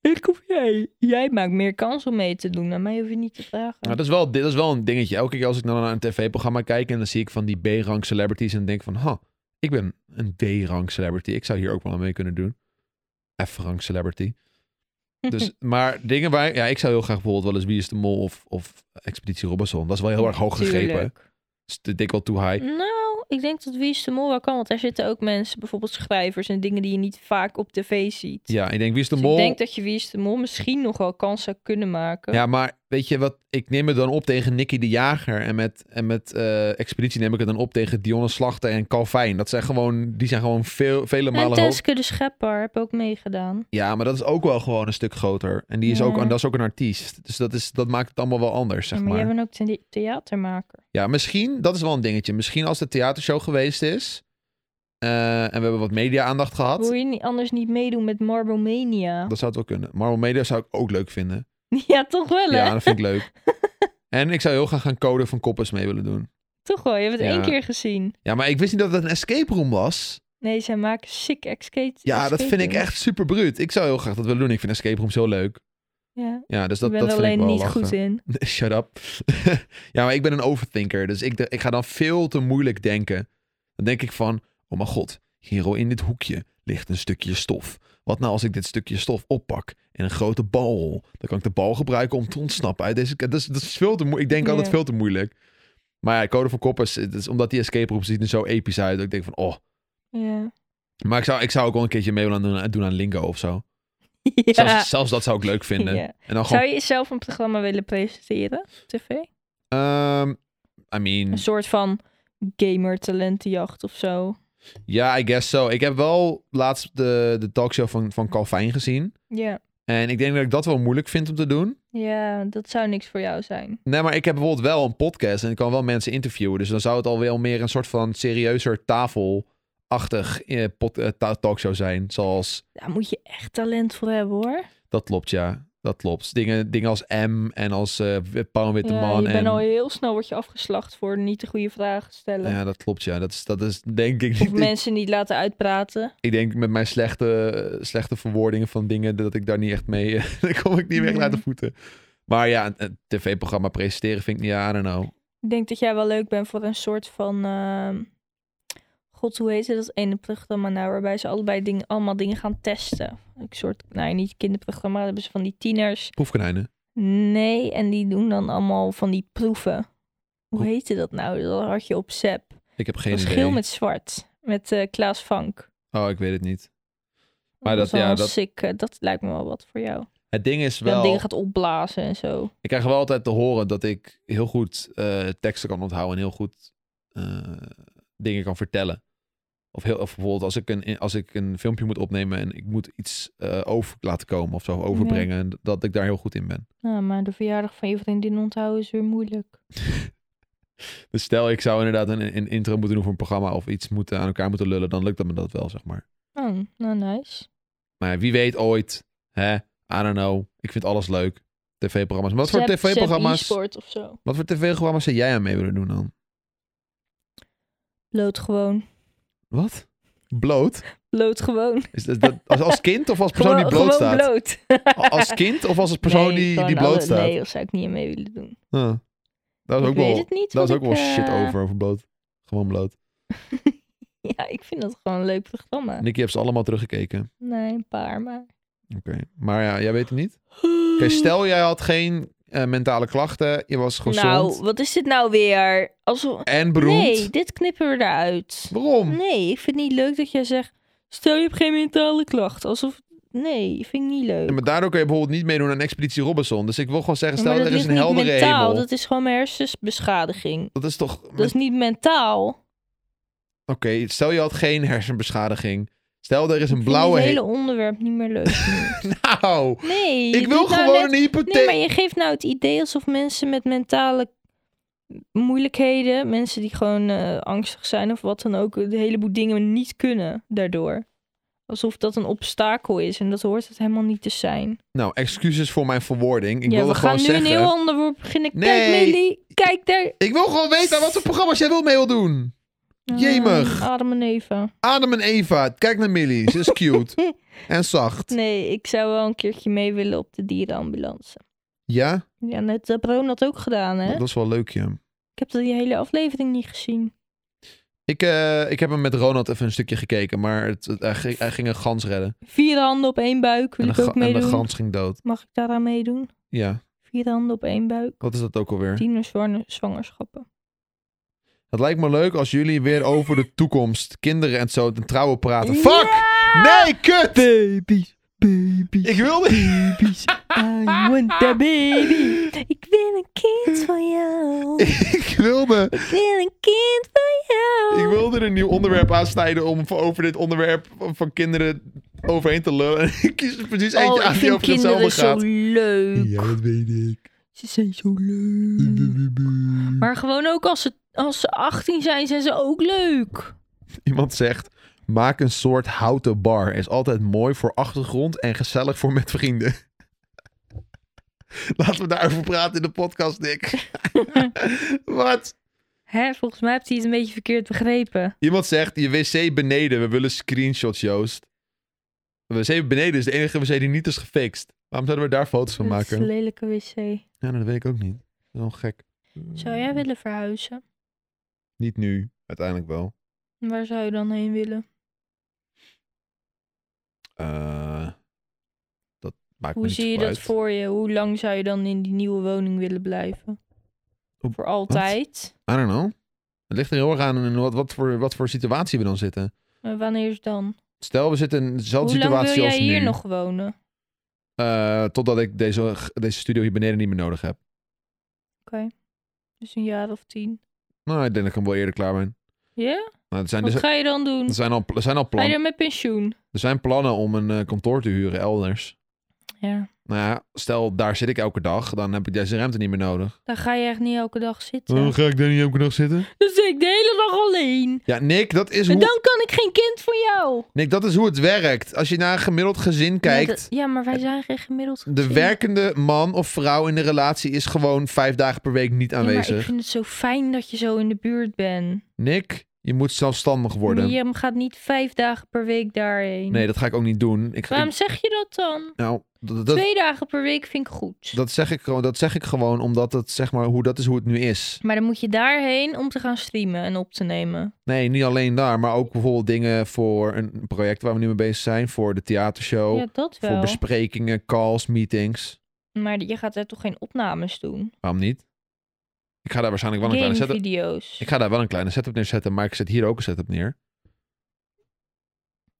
ik of jij? Jij maakt meer kans om mee te doen. Aan mij hoef je niet te vragen.
Nou, dat, is wel, dit is wel een dingetje. Elke keer als ik dan naar een tv-programma kijk en dan zie ik van die B-rank celebrities en denk van, ha, ik ben een D-rank celebrity. Ik zou hier ook wel aan mee kunnen doen. F-rank celebrity. Dus, maar dingen waar, ja, ik zou heel graag bijvoorbeeld wel eens Wie is de Mol of, of Expeditie Robinson. Dat is wel heel erg hoog gegrepen. hè.
Tuurlijk.
Dus dit denk ik wel too high.
Nou, ik denk dat Wie is de Mol wel kan. Want daar zitten ook mensen, bijvoorbeeld schrijvers en dingen die je niet vaak op tv ziet.
Ja, ik denk Wie is de
Dus
Mol.
ik denk dat je Wie is de Mol misschien nog wel kans zou kunnen maken.
Ja, maar weet je wat? Ik neem het dan op tegen Nicky de Jager. En met, en met eh, Expeditie neem ik het dan op tegen Dionne Slachter en Calvijn. Dat zijn gewoon, die zijn gewoon veel, vele
en
malen hoog.
Teske de Schepper heb ook meegedaan.
Ja, maar dat is ook wel gewoon een stuk groter. En, die is ook,
Ja.
en dat is ook een artiest. Dus dat, is, dat maakt het allemaal wel anders, zeg
Ja,
maar.
maar jij bent ook the- theatermaker.
Ja, misschien, dat is wel een dingetje. Misschien als de theatershow geweest is. eh, en we hebben wat media-aandacht gehad.
Wil je niet, anders niet meedoen met Marble Mania?
Dat zou het wel kunnen. Marvel Media zou ik ook leuk vinden.
Ja, toch wel hè?
Ja, dat vind ik leuk. en ik zou heel graag gaan code van koppers mee willen doen.
Toch wel, je hebt het
Ja.
één keer gezien.
Ja, maar ik wist niet dat het een escape room was.
Nee, zij maken sick escape
Ja, dat
escape
vind ik
rooms.
echt super bruut. Ik zou heel graag dat willen doen. Ik vind escape rooms heel leuk.
Ja,
Ja, dus dat,
ik ben
dat
er
vind ik
alleen
wel
niet
lachen.
goed in.
Shut up. ja, maar ik ben een overthinker. Dus ik, de- ik ga dan veel te moeilijk denken. Dan denk ik van, oh mijn god, Hero, in dit hoekje ligt een stukje stof. Wat nou als ik dit stukje stof oppak en een grote bal rol? Dan kan ik de bal gebruiken om te ontsnappen uit deze... Dat is, dat is veel te moe- Ik denk altijd
Ja.
veel te moeilijk. Maar ja, Code van Koppers, het is omdat die escape room ziet er zo episch uit. Dat ik denk van, oh.
Ja.
Maar ik zou, ik zou ook wel een keertje mee willen doen, doen aan Lingo of zo.
Ja.
Zelfs, zelfs dat zou ik leuk vinden.
Ja.
En dan gewoon,
Zou je jezelf een programma willen presenteren? op TV?
Hm. ehm, I mean...
Een soort van gamer talentenjacht of zo.
Ja, I guess so. Ik heb wel laatst de, de talkshow van, van Calvijn gezien.
Ja.
En ik denk dat ik dat wel moeilijk vind om te doen.
ja, dat zou niks voor jou zijn.
Nee, maar ik heb bijvoorbeeld wel een podcast en ik kan wel mensen interviewen. Dus dan zou het alweer meer een soort van serieuzer tafelachtig eh, pod- eh, ta- talkshow zijn. Zoals,
Daar moet je echt talent voor hebben hoor.
dat klopt ja, dat klopt. Dingen, dingen als M en als eh Paul Witte
ja,
Man.
je
en,
bent al heel snel wordt je afgeslacht voor niet de goede vragen stellen.
ja, dat klopt ja. Dat is, dat is denk ik
Of
niet... Ik,
mensen niet laten uitpraten.
ik denk met mijn slechte, eh, slechte verwoordingen van dingen dat ik daar niet echt mee... eh, daar kom ik niet meer echt uit de
Nee.
voeten. Maar ja, een, een tv-programma presenteren vind ik niet... nou. Ja, I don't know.
Ik denk dat jij wel leuk bent voor een soort van... ehm, God, hoe heet het? Dat ene programma nou, waarbij ze allebei dingen, allemaal dingen gaan testen. Een soort, nou niet kinderprogramma, dat hebben ze van die tieners.
Proefkonijnen.
Nee, en die doen dan allemaal van die proeven. Hoe
Hoe-
heette dat nou? Dat had je op SEP.
Ik heb geen
Dat was
idee.
geel met zwart. Met eh, Klaas Vank.
Oh, ik weet het niet. Maar dat-
was wel
ja,
een
dat-
sick, eh, dat lijkt me wel wat voor jou.
Het ding is
Dat
wel...
ding gaat opblazen en zo.
Ik krijg wel altijd te horen dat ik heel goed eh, teksten kan onthouden en heel goed eh, dingen kan vertellen. Of, heel, of bijvoorbeeld als ik, een, als ik een filmpje moet opnemen en ik moet iets eh, over laten komen of zo overbrengen, dat ik daar heel goed in ben.
Ja, maar de verjaardag van je vriendin onthouden is weer moeilijk.
Dus stel ik zou inderdaad een, een intro moeten doen voor een programma of iets moeten, aan elkaar moeten lullen, dan lukt dat me dat wel, zeg maar.
Oh, nou nice.
Maar ja, wie weet ooit, hè? I don't know. Ik vind alles leuk. TV-programma's. Maar Wat voor
Zep- Zep
tv-programma's?
e-sport of zo.
Wat voor tv-programma's zou jij aan mee willen doen dan?
Bloot gewoon.
Wat? Bloot?
Bloot gewoon.
Is dat, dat- als, als kind of als persoon die
Gewoon-
bloot
gewoon
staat?
bloot.
Als kind of als persoon
Nee,
die,
gewoon
die bloot
alle-
staat?
Nee, dat zou ik niet mee willen doen.
Huh. Daar was
ik
ook
weet
wel,
het niet.
daar was
wat
ook
ik,
wel shit
eh,
over, over bloot. Gewoon bloot.
Ja, ik vind dat gewoon een leuk programma.
Nicky heeft ze allemaal teruggekeken.
Nee, een paar, maar...
Oké. Maar ja, jij weet het niet? Oké,
Hmm.
stel jij had geen eh, mentale klachten. Je was gezond.
Nou, wat is dit nou weer? Alsof...
en beroemd.
Nee, dit knippen we eruit.
Waarom?
Nee, ik vind het niet leuk dat jij zegt... Stel je hebt geen mentale klacht. Alsof... Nee, vind ik niet leuk.
Ja, maar daardoor kun je bijvoorbeeld niet meedoen aan Expeditie Robinson. Dus ik wil gewoon zeggen, stel
Ja, maar
er is een
ligt niet
heldere
mentaal,
hemel. Dat...
Dat is gewoon mijn hersensbeschadiging.
is toch...
Dat is niet mentaal.
Oké, stel je had geen hersenbeschadiging. Stel er is een
Ik
blauwe
vind dit
hemel.
hele onderwerp niet meer leuk.
Nou,
Nee. je
ik wil
doet nou
gewoon
net-
een
Nee,
hypotheek.
maar je geeft nou het idee alsof mensen met mentale moeilijkheden... mensen die gewoon eh, angstig zijn of wat dan ook... een heleboel dingen niet kunnen daardoor. Alsof dat een obstakel is. En dat hoort het helemaal niet te zijn.
Nou, excuses voor mijn verwoording. Ik
ja,
wilde
we gaan
gewoon
nu
zeggen...
een heel ander woord beginnen. Kijk,
Nee.
Millie. Kijk daar.
Ik wil gewoon weten aan wat voor programma's jij wil mee wil doen. Jemig.
Ah, Adam en Eva.
Adam en Eva, kijk naar Millie. Ze is cute. en zacht.
Nee, ik zou wel een keertje mee willen op de dierenambulance.
Ja?
Ja, net heb Ronald ook gedaan, hè?
Dat is wel leuk, ja.
Ik heb die hele aflevering niet gezien.
Ik, eh, ik heb hem met Ronald even een stukje gekeken, maar het, het- hij, ging, hij ging een gans redden.
Vier handen op één buik wil
En de,
ik ook
ga- en de
meedoen.
gans ging dood.
Mag ik daaraan meedoen?
Ja,
Vier handen op één buik.
wat is dat ook alweer?
Tienerzwangere zwangerschappen.
Het lijkt me leuk als jullie weer over de toekomst, kinderen en zo, en trouwen praten. Fuck!
Ja!
Nee, kut!
Baby's, baby's,
Ik wilde...
baby's. I want a baby. Ik wil een kind van jou.
Ik wilde...
Ik wil een kind van jou.
Ik wilde een nieuw onderwerp aansnijden om voor- over dit onderwerp van kinderen overheen te lullen. En ik kies er precies eentje
oh, ik
aan die
vind
over hetzelfde
kinderen zo
gaat.
leuk.
dat weet ik.
Ze zijn zo leuk. Maar gewoon ook als ze, als ze 18 zijn, zijn ze ook leuk.
Iemand zegt, maak een soort houten bar. Is altijd mooi voor achtergrond en gezellig voor met vrienden. Laten we daarover praten in de podcast, Nick. Wat?
Hè, volgens mij heeft hij het een beetje verkeerd begrepen.
Iemand zegt, je wc beneden, we willen screenshots, Joost. De wc beneden is de enige wc die niet is gefixt. Waarom zouden we daar foto's van
Dat is
maken?
een lelijke wc.
Ja, nou, dat weet ik ook niet. Dat is wel gek.
Zou jij willen verhuizen?
Niet nu, uiteindelijk wel.
Waar zou je dan heen willen?
Eh, dat maakt me
Hoe
niet
zie je
zoveel
dat
uit.
voor je? Hoe lang zou je dan in die nieuwe woning willen blijven?
Op-
Voor altijd?
I don't know. Het ligt er heel erg aan in wat, wat, voor, wat voor situatie we dan zitten.
Maar wanneer is dan?
Stel, we zitten in dezelfde
Hoe lang
situatie
wil jij
als
hier
nu.
nog wonen? Oké.
eh, totdat ik deze, deze studio hier beneden niet meer nodig heb.
Dus een jaar of tien.
Nou, ik denk dat ik hem wel eerder klaar ben.
Ja?
Nou, er, zijn,
Wat
dus-
ga je dan doen?
er, zijn al, er, zijn al
Ga je
plannen,
dan met pensioen?
er zijn plannen om een eh, kantoor te huren elders.
Ja.
Nou ja, stel, daar zit ik elke dag. Dan heb ik deze ruimte niet meer nodig.
Dan ga je echt niet elke dag zitten.
Waarom ga ik daar niet elke dag zitten?
Dan zit ik de hele dag alleen.
Ja, Nick, dat is
En
hoe
dan kan ik geen kind van jou.
Nick, dat is hoe het werkt. Als je naar een gemiddeld gezin kijkt.
Ja, dat- ja, maar wij zijn geen gemiddeld
De
gezin.
werkende man of vrouw in de relatie is gewoon vijf dagen per week niet
Ja, maar
aanwezig.
ik vind het zo fijn dat je zo in de buurt bent.
Nick, je moet zelfstandig worden.
Je gaat niet vijf dagen per week daarheen.
Nee, dat ga ik ook niet doen. Ik,
Waarom
ik-
zeg je dat dan?
nou, dat, dat,
Twee dagen per week vind ik goed.
dat, zeg ik, gewoon- dat zeg ik gewoon omdat het, zeg maar, hoe, dat is hoe het nu is.
Maar dan moet je daarheen om te gaan streamen en op te nemen.
Nee, niet alleen daar, maar ook bijvoorbeeld dingen voor een project waar we nu mee bezig zijn. Voor de theatershow,
ja, dat
Oh, voor
wel.
besprekingen, calls, meetings.
Maar je gaat daar toch geen opnames doen?
Waarom niet? Ik ga daar waarschijnlijk wel een kleine setup...
Gamevideo's.
Ik ga daar wel een kleine setup neerzetten, maar ik zet hier ook een setup neer.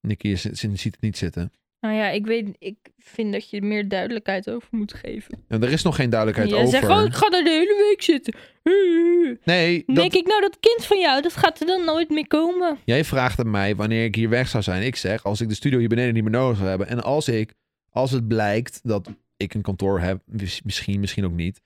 Nicky is- ziet het niet zitten.
Nou ja, ik weet, ik vind dat je er meer duidelijkheid over moet geven.
En er is nog geen duidelijkheid
Jij
over.
zegt gewoon, ik ga daar de hele week zitten.
Nee, dat-
Denk ik, nou dat kind van jou, dat gaat er dan nooit meer komen.
jij vraagt aan mij wanneer ik hier weg zou zijn. Ik zeg, als ik de studio hier beneden niet meer nodig zou hebben. En als ik, als het blijkt dat ik een kantoor heb, mis- misschien, misschien ook niet.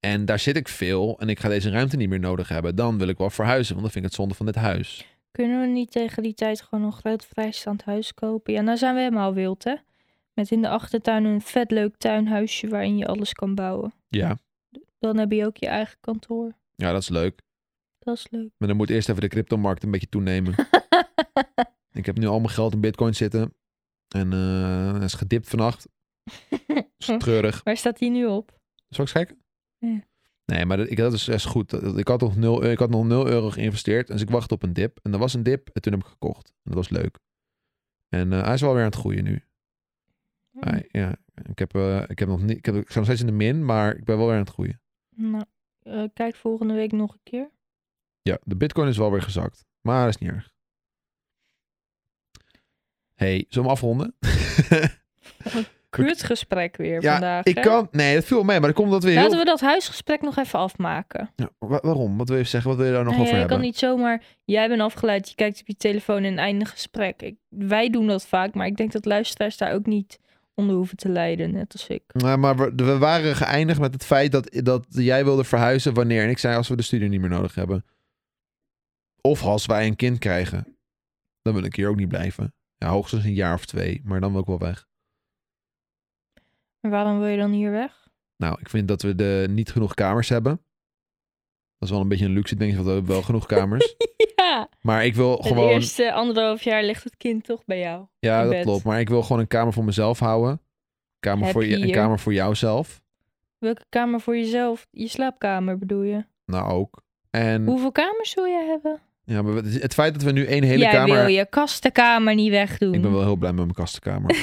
En daar zit ik veel en ik ga deze ruimte niet meer nodig hebben. Dan wil ik wel verhuizen, want dan vind ik het zonde van dit huis.
Kunnen we niet tegen die tijd gewoon een groot vrijstaand huis kopen? Ja, nou zijn we helemaal wild, hè? Met in de achtertuin een vet leuk tuinhuisje waarin je alles kan bouwen.
Ja.
Dan heb je ook je eigen kantoor.
Ja, dat is leuk.
Dat is leuk.
Maar dan moet eerst even de cryptomarkt een beetje toenemen. Ik heb nu al mijn geld in bitcoin zitten. En eh het is gedipt vannacht. Dat is treurig.
Waar staat die nu op?
Zal ik eens kijken?
Ja.
Nee, maar dat, ik, dat is echt goed. Dat- Ik had, nog 0, ik had nog 0 euro geïnvesteerd. Dus ik wachtte op een dip. En er was een dip. En toen heb ik gekocht. En dat was leuk. En eh, hij is wel weer aan het groeien nu. Hij- ja, ik heb, eh, ik heb nog niet. Ik, heb, ik sta nog steeds in de min. Maar ik ben wel weer aan het groeien.
Nou, eh, kijk volgende week nog een keer.
Ja, de bitcoin is wel weer gezakt. Maar dat is niet erg. hey, zullen we hem afronden?
Kutgesprek weer
Ja,
vandaag.
ik
hè?
kan... Nee, dat viel mee. Maar dan komt dat weer heel...
Laten we dat huisgesprek nog even afmaken.
Ja, wa- waarom? Wat wil je zeggen? Wat wil je daar nog
Nee,
over
ja, je
hebben?
kan niet zomaar. Jij bent afgeleid, je kijkt op je telefoon en eindig gesprek. Ik, wij doen dat vaak, maar ik denk dat luisteraars daar ook niet onder hoeven te lijden, net als ik.
Nou, maar we, we waren geëindigd met het feit dat, dat jij wilde verhuizen wanneer. En ik zei als we de studio niet meer nodig hebben. Of als wij een kind krijgen. Dan wil ik hier ook niet blijven. Ja, hoogstens een jaar of twee. Maar dan wil ik wel weg.
Maar waarom wil je dan hier weg?
Nou, ik vind dat we de, niet genoeg kamers hebben. Dat is wel een beetje een luxe ding. Want we hebben wel genoeg kamers.
Ja,
Maar ik wil gewoon...
het eerste anderhalf jaar ligt het kind toch bij jou.
ja,
in
dat
bed.
klopt. Maar ik wil gewoon een kamer voor mezelf houden. Een Kamer
Heb
voor, je,
je
een
hier?
kamer voor jouzelf.
Welke kamer voor jezelf? Je slaapkamer bedoel je?
Nou, ook. En...
Hoeveel kamers wil jij hebben?
Ja, maar het het feit dat we nu één hele
jij
kamer...
wil je kastenkamer niet wegdoen.
Ik ben wel heel blij met mijn kastenkamer.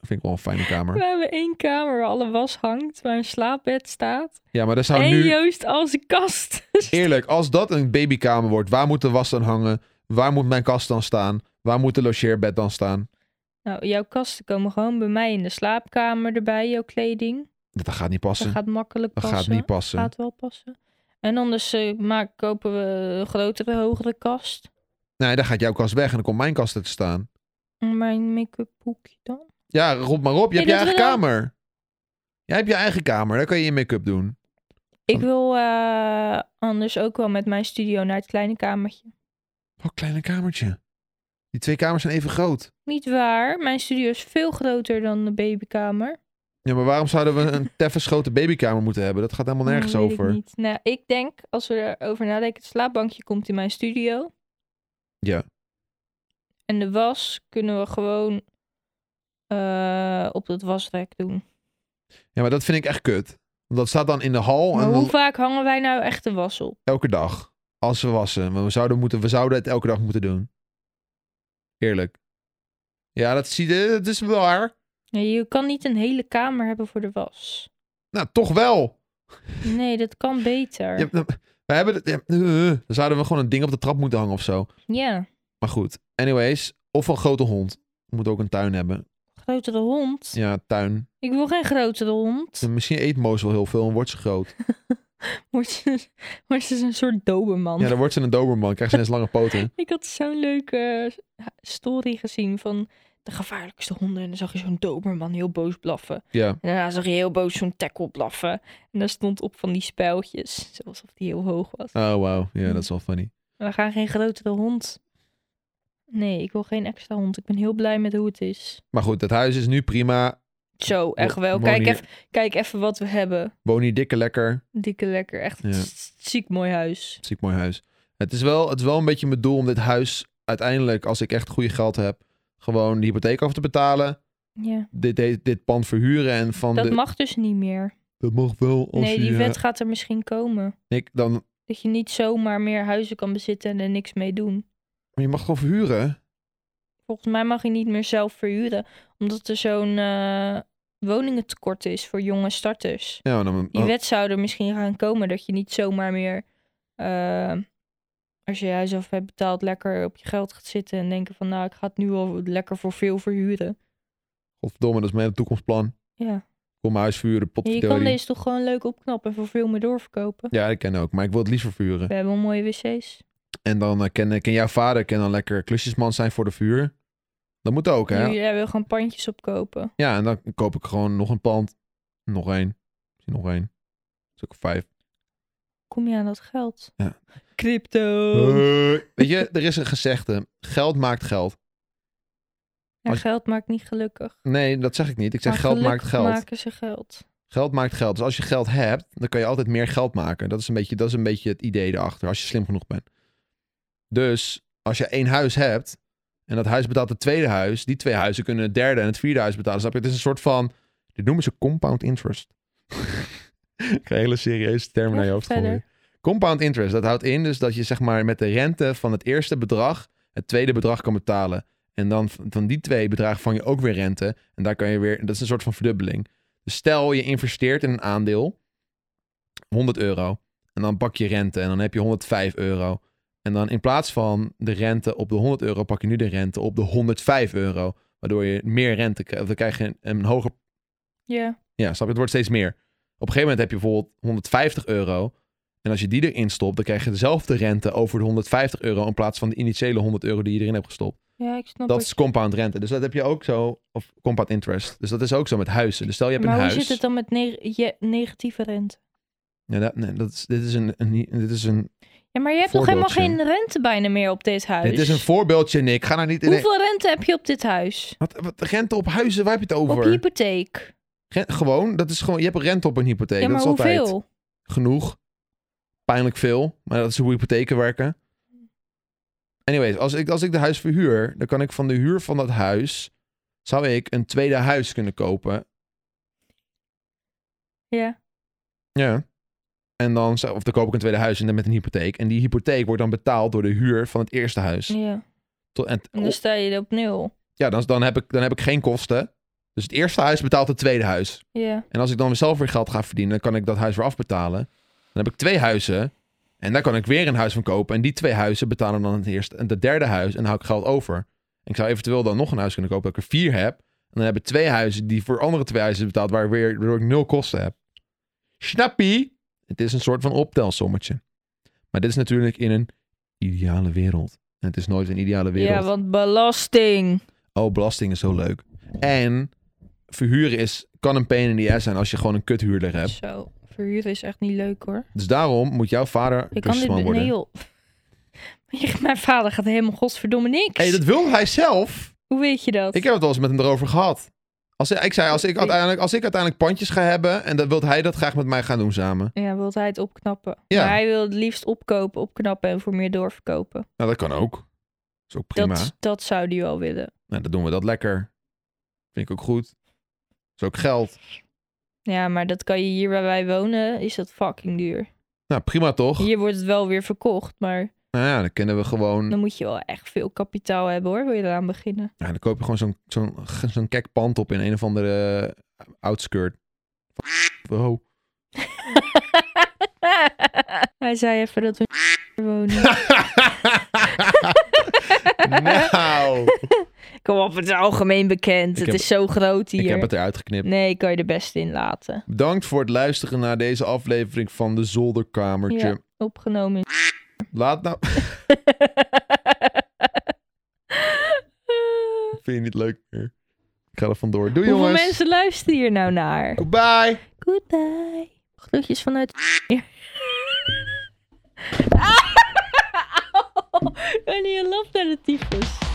vind ik wel een fijne
We
kamer.
hebben één kamer waar alle was hangt, waar een slaapbed staat.
Ja, maar dat zou
en
nu...
Joost als een kast.
Eerlijk, als dat een babykamer wordt, waar moet de was dan hangen? Waar moet mijn kast dan staan? Waar moet de logeerbed dan staan?
Nou, jouw kasten komen gewoon bij mij in de slaapkamer erbij, jouw kleding.
Dat, dat gaat niet
Dat
passen.
gaat makkelijk
Dat
passen.
gaat niet passen.
Gaat wel passen. En anders eh, maak, kopen we een grotere, hogere kast.
Nee, dan gaat jouw kast weg en dan komt mijn kast er te staan.
En Mijn make-up boekje dan.
Ja, roep maar op. Je
Nee,
hebt je
dat
eigen
wil ik.
kamer. Jij hebt je eigen kamer. Daar kan je je make-up doen.
Ik wil eh, anders ook wel met mijn studio naar het kleine kamertje.
Wat een kleine kamertje. Die twee kamers zijn even groot.
Niet waar, mijn studio is veel groter dan de babykamer.
Ja, maar waarom zouden we een teffens grote babykamer moeten hebben? Dat gaat helemaal nergens
Nou, weet
over.
Ik, niet. Nou, ik denk, als we erover nadenken, het slaapbankje komt in mijn studio.
Ja.
En de was kunnen we gewoon eh, op dat wasrek doen.
Oh, Ja, maar dat vind ik echt kut. Want dat staat dan in de hal
Maar
en dan
hoe vaak hangen wij nou echt de was op?
elke dag. Als we wassen. Maar we zouden, moeten, we zouden het elke dag moeten doen. Eerlijk. Ja, dat, zie je, dat is waar.
Ja, je kan niet een hele kamer hebben voor de was.
Nou, toch wel.
Nee, dat kan beter.
Je,
Ja.
hebt- we hebben het, ja, eh, dan zouden we gewoon een ding op de trap moeten hangen of zo. Maar goed. Anyways, of een grote hond. We moeten ook een tuin hebben.
Grotere hond.
Ja, tuin.
Ik wil geen grotere hond.
Misschien eet Moos wel heel veel en wordt ze groot.
Wordt ze, wordt ze een soort doberman.
Ja, dan wordt ze een doberman. Krijgt ze ineens lange poten.
Ik had zo'n leuke eh, story gezien van de gevaarlijkste honden. En dan zag je zo'n doberman heel boos blaffen.
Ja.
En daarna zag je heel boos zo'n tackle blaffen. En daar stond op van die spijltjes. Zoals of die heel hoog was.
Oh, wauw. Ja, dat is wel funny.
We gaan geen grotere hond. Nee, ik wil geen extra hond. Ik ben heel blij met hoe het is.
Maar goed, het huis is nu prima.
Zo, echt wel.
Wonen
Kijk
hier-
even, kijk even wat we hebben.
Woon hier dikke lekker.
Dikke lekker. Echt
Ja.
ziek mooi huis.
Ziek mooi huis. Het is, wel, het is wel een beetje mijn doel om dit huis uiteindelijk, als ik echt goede geld heb, gewoon de hypotheek af te betalen.
Ja.
Dit, dit, dit pand verhuren en van
Dat
de.
mag dus niet meer.
dat mag wel als
Nee, die
je.
wet gaat er misschien komen.
Nick, dan, maar
Dat je niet zomaar meer huizen kan bezitten en er niks mee doen.
je mag gewoon verhuren.
Volgens mij mag je niet meer zelf verhuren. Omdat er zo'n eh, woningentekort is voor jonge starters.
Ja, maar dan, oh,
Die wet zou er misschien gaan komen dat je niet zomaar meer... eh, als je je huis af hebt betaald, lekker op je geld gaat zitten... en denken van nou, ik ga het nu al lekker voor veel verhuren.
Godverdomme, dat is mijn toekomstplan.
Ja.
Kom mijn huis verhuren,
En je kan
potverdorie.
deze toch gewoon leuk opknappen en voor veel meer doorverkopen.
Ja, dat ken ik ook. Maar ik wil het liever verhuren.
We hebben mooie wc's.
En dan eh, ken, ken jouw vader kan dan lekker klusjesman zijn voor de vuur. Dat moet ook, hè?
Nu, jij eh, wil gewoon pandjes opkopen.
Ja, en dan koop ik gewoon nog een pand. Nog één. Misschien nog één. Dus ook vijf.
Kom je aan dat geld?
Ja.
Crypto!
Weet je, er is een gezegde. Geld maakt geld.
Ja,
Als-
geld maakt niet gelukkig.
Nee, dat zeg ik niet. Ik zeg
Maar
geld maakt
gelukkig
geld.
maken ze geld.
Geld maakt geld. Dus als je geld hebt, dan kan je altijd meer geld maken. Dat is een beetje, dat is een beetje het idee erachter, als je slim genoeg bent. Dus als je één huis hebt en dat huis betaalt het tweede huis, die twee huizen kunnen het derde en het vierde huis betalen. Snap je? Het is een soort van, dit noemen ze compound interest. Ik ga hele serieuze termen
Ja,
naar je hoofd
verder.
gooien. Compound interest, dat houdt in dus dat je zeg maar met de rente van het eerste bedrag het tweede bedrag kan betalen. En dan v- van die twee bedragen vang je ook weer rente. En daar kan je weer, dat is een soort van verdubbeling. Dus stel je investeert in een aandeel, 100 euro. En dan pak je rente en dan heb je 105 euro. En dan in plaats van de rente op de 100 euro, pak je nu de rente op de 105 euro. Waardoor je meer rente krijgt. Dan krijg je een, een hoger
Ja.
ja, snap je? Het wordt steeds meer. Op een gegeven moment heb je bijvoorbeeld 150 euro. En als je die erin stopt, dan krijg je dezelfde rente over de 150 euro in plaats van de initiële 100 euro die je erin hebt gestopt.
Ja, ik snap
Dat
het.
is compound rente. Dus dat heb je ook zo, of compound interest. Dus dat is ook zo met huizen. Dus stel je hebt
maar
een
hoe
huis.
zit het dan met ne- je- negatieve rente?
Ja, dat, nee, dat is, dit, is een, een- dit is een,
Ja, maar je hebt nog helemaal geen
Voorbeeldje.
rente bijna meer op dit huis.
dit is een voorbeeldje, Nick. Ga nou niet in.
Hoeveel rente heb je op dit huis?
Wat, wat, rente op huizen, waar heb je het over?
Op hypotheek.
Ren- gewoon, dat is gewoon, je hebt een rente op een hypotheek.
ja, maar
dat is altijd
hoeveel?
genoeg. Pijnlijk veel, maar dat is hoe hypotheken werken. Anyways, als ik, als ik de huis verhuur, dan kan ik van de huur van dat huis... zou ik een tweede huis kunnen kopen.
Ja.
Ja. En dan, zou- of dan koop ik een tweede huis en dan met een hypotheek. En die hypotheek wordt dan betaald door de huur van het eerste huis.
ja.
Tot, en,
En dus dan sta je op nul.
ja, dan, dan, heb ik, dan heb ik geen kosten. Dus het eerste huis betaalt het tweede huis.
Ja.
En als ik dan zelf weer geld ga verdienen, dan kan ik dat huis weer afbetalen. Dan heb ik twee huizen. En daar kan ik weer een huis van kopen. En die twee huizen betalen dan het eerste en het derde huis. En dan hou ik geld over. En ik zou eventueel dan nog een huis kunnen kopen dat ik er vier heb. En dan heb ik twee huizen die voor andere twee huizen betaald, waar weer, waardoor ik nul kosten heb. Snappie? Het is een soort van optelsommetje. Maar dit is natuurlijk in een ideale wereld. En het is nooit een ideale wereld.
Ja, want belasting.
Oh, belasting is zo leuk. En verhuren is, kan een pain in the ass zijn als je gewoon een kuthuurder hebt.
Zo, verhuren is echt niet leuk hoor.
Dus daarom moet jouw vader
Ik kan dit...
businessman worden.
Nee joh. Mijn vader gaat helemaal godsverdomme niks.
hey, dat wil hij zelf.
Hoe weet je dat?
Ik heb het wel eens met hem erover gehad. Als hij- ik zei, als ik, uiteindelijk, als ik uiteindelijk pandjes ga hebben... en dan wil hij dat graag met mij gaan doen samen.
Ja, wil hij het opknappen.
Ja.
Maar hij wil het liefst opkopen, opknappen en voor meer doorverkopen.
Nou, dat kan ook. Dat is ook prima.
Dat, dat zou die wel willen.
Nou, dan doen we dat lekker. Vind ik ook goed. Dat is ook geld.
Ja, maar dat kan je hier waar wij wonen, is dat fucking duur.
Nou, prima toch?
Hier wordt het wel weer verkocht, maar
Nou ja, dan kunnen we gewoon...
dan moet je wel echt veel kapitaal hebben hoor, wil je eraan beginnen.
Ja, dan koop je gewoon zo'n zo'n zo'n kek pand op in een of andere eh, outskirt. Wow.
hij zei even dat we wonen.
nou.
Kom op, het is algemeen bekend. het
heb-
is zo groot hier.
Ik heb het eruit geknipt.
Nee, kan je er best in laten.
Bedankt voor het luisteren naar deze aflevering van de Zolderkamertje.
Ja, opgenomen. in-
Laat nou... Vind je niet leuk meer? Ik ga er vandoor. Doei
Hoeveel
jongens.
mensen luisteren hier nou naar?
Goodbye.
Goodbye. Groetjes vanuit. Wanneer je lacht naar de tyfus.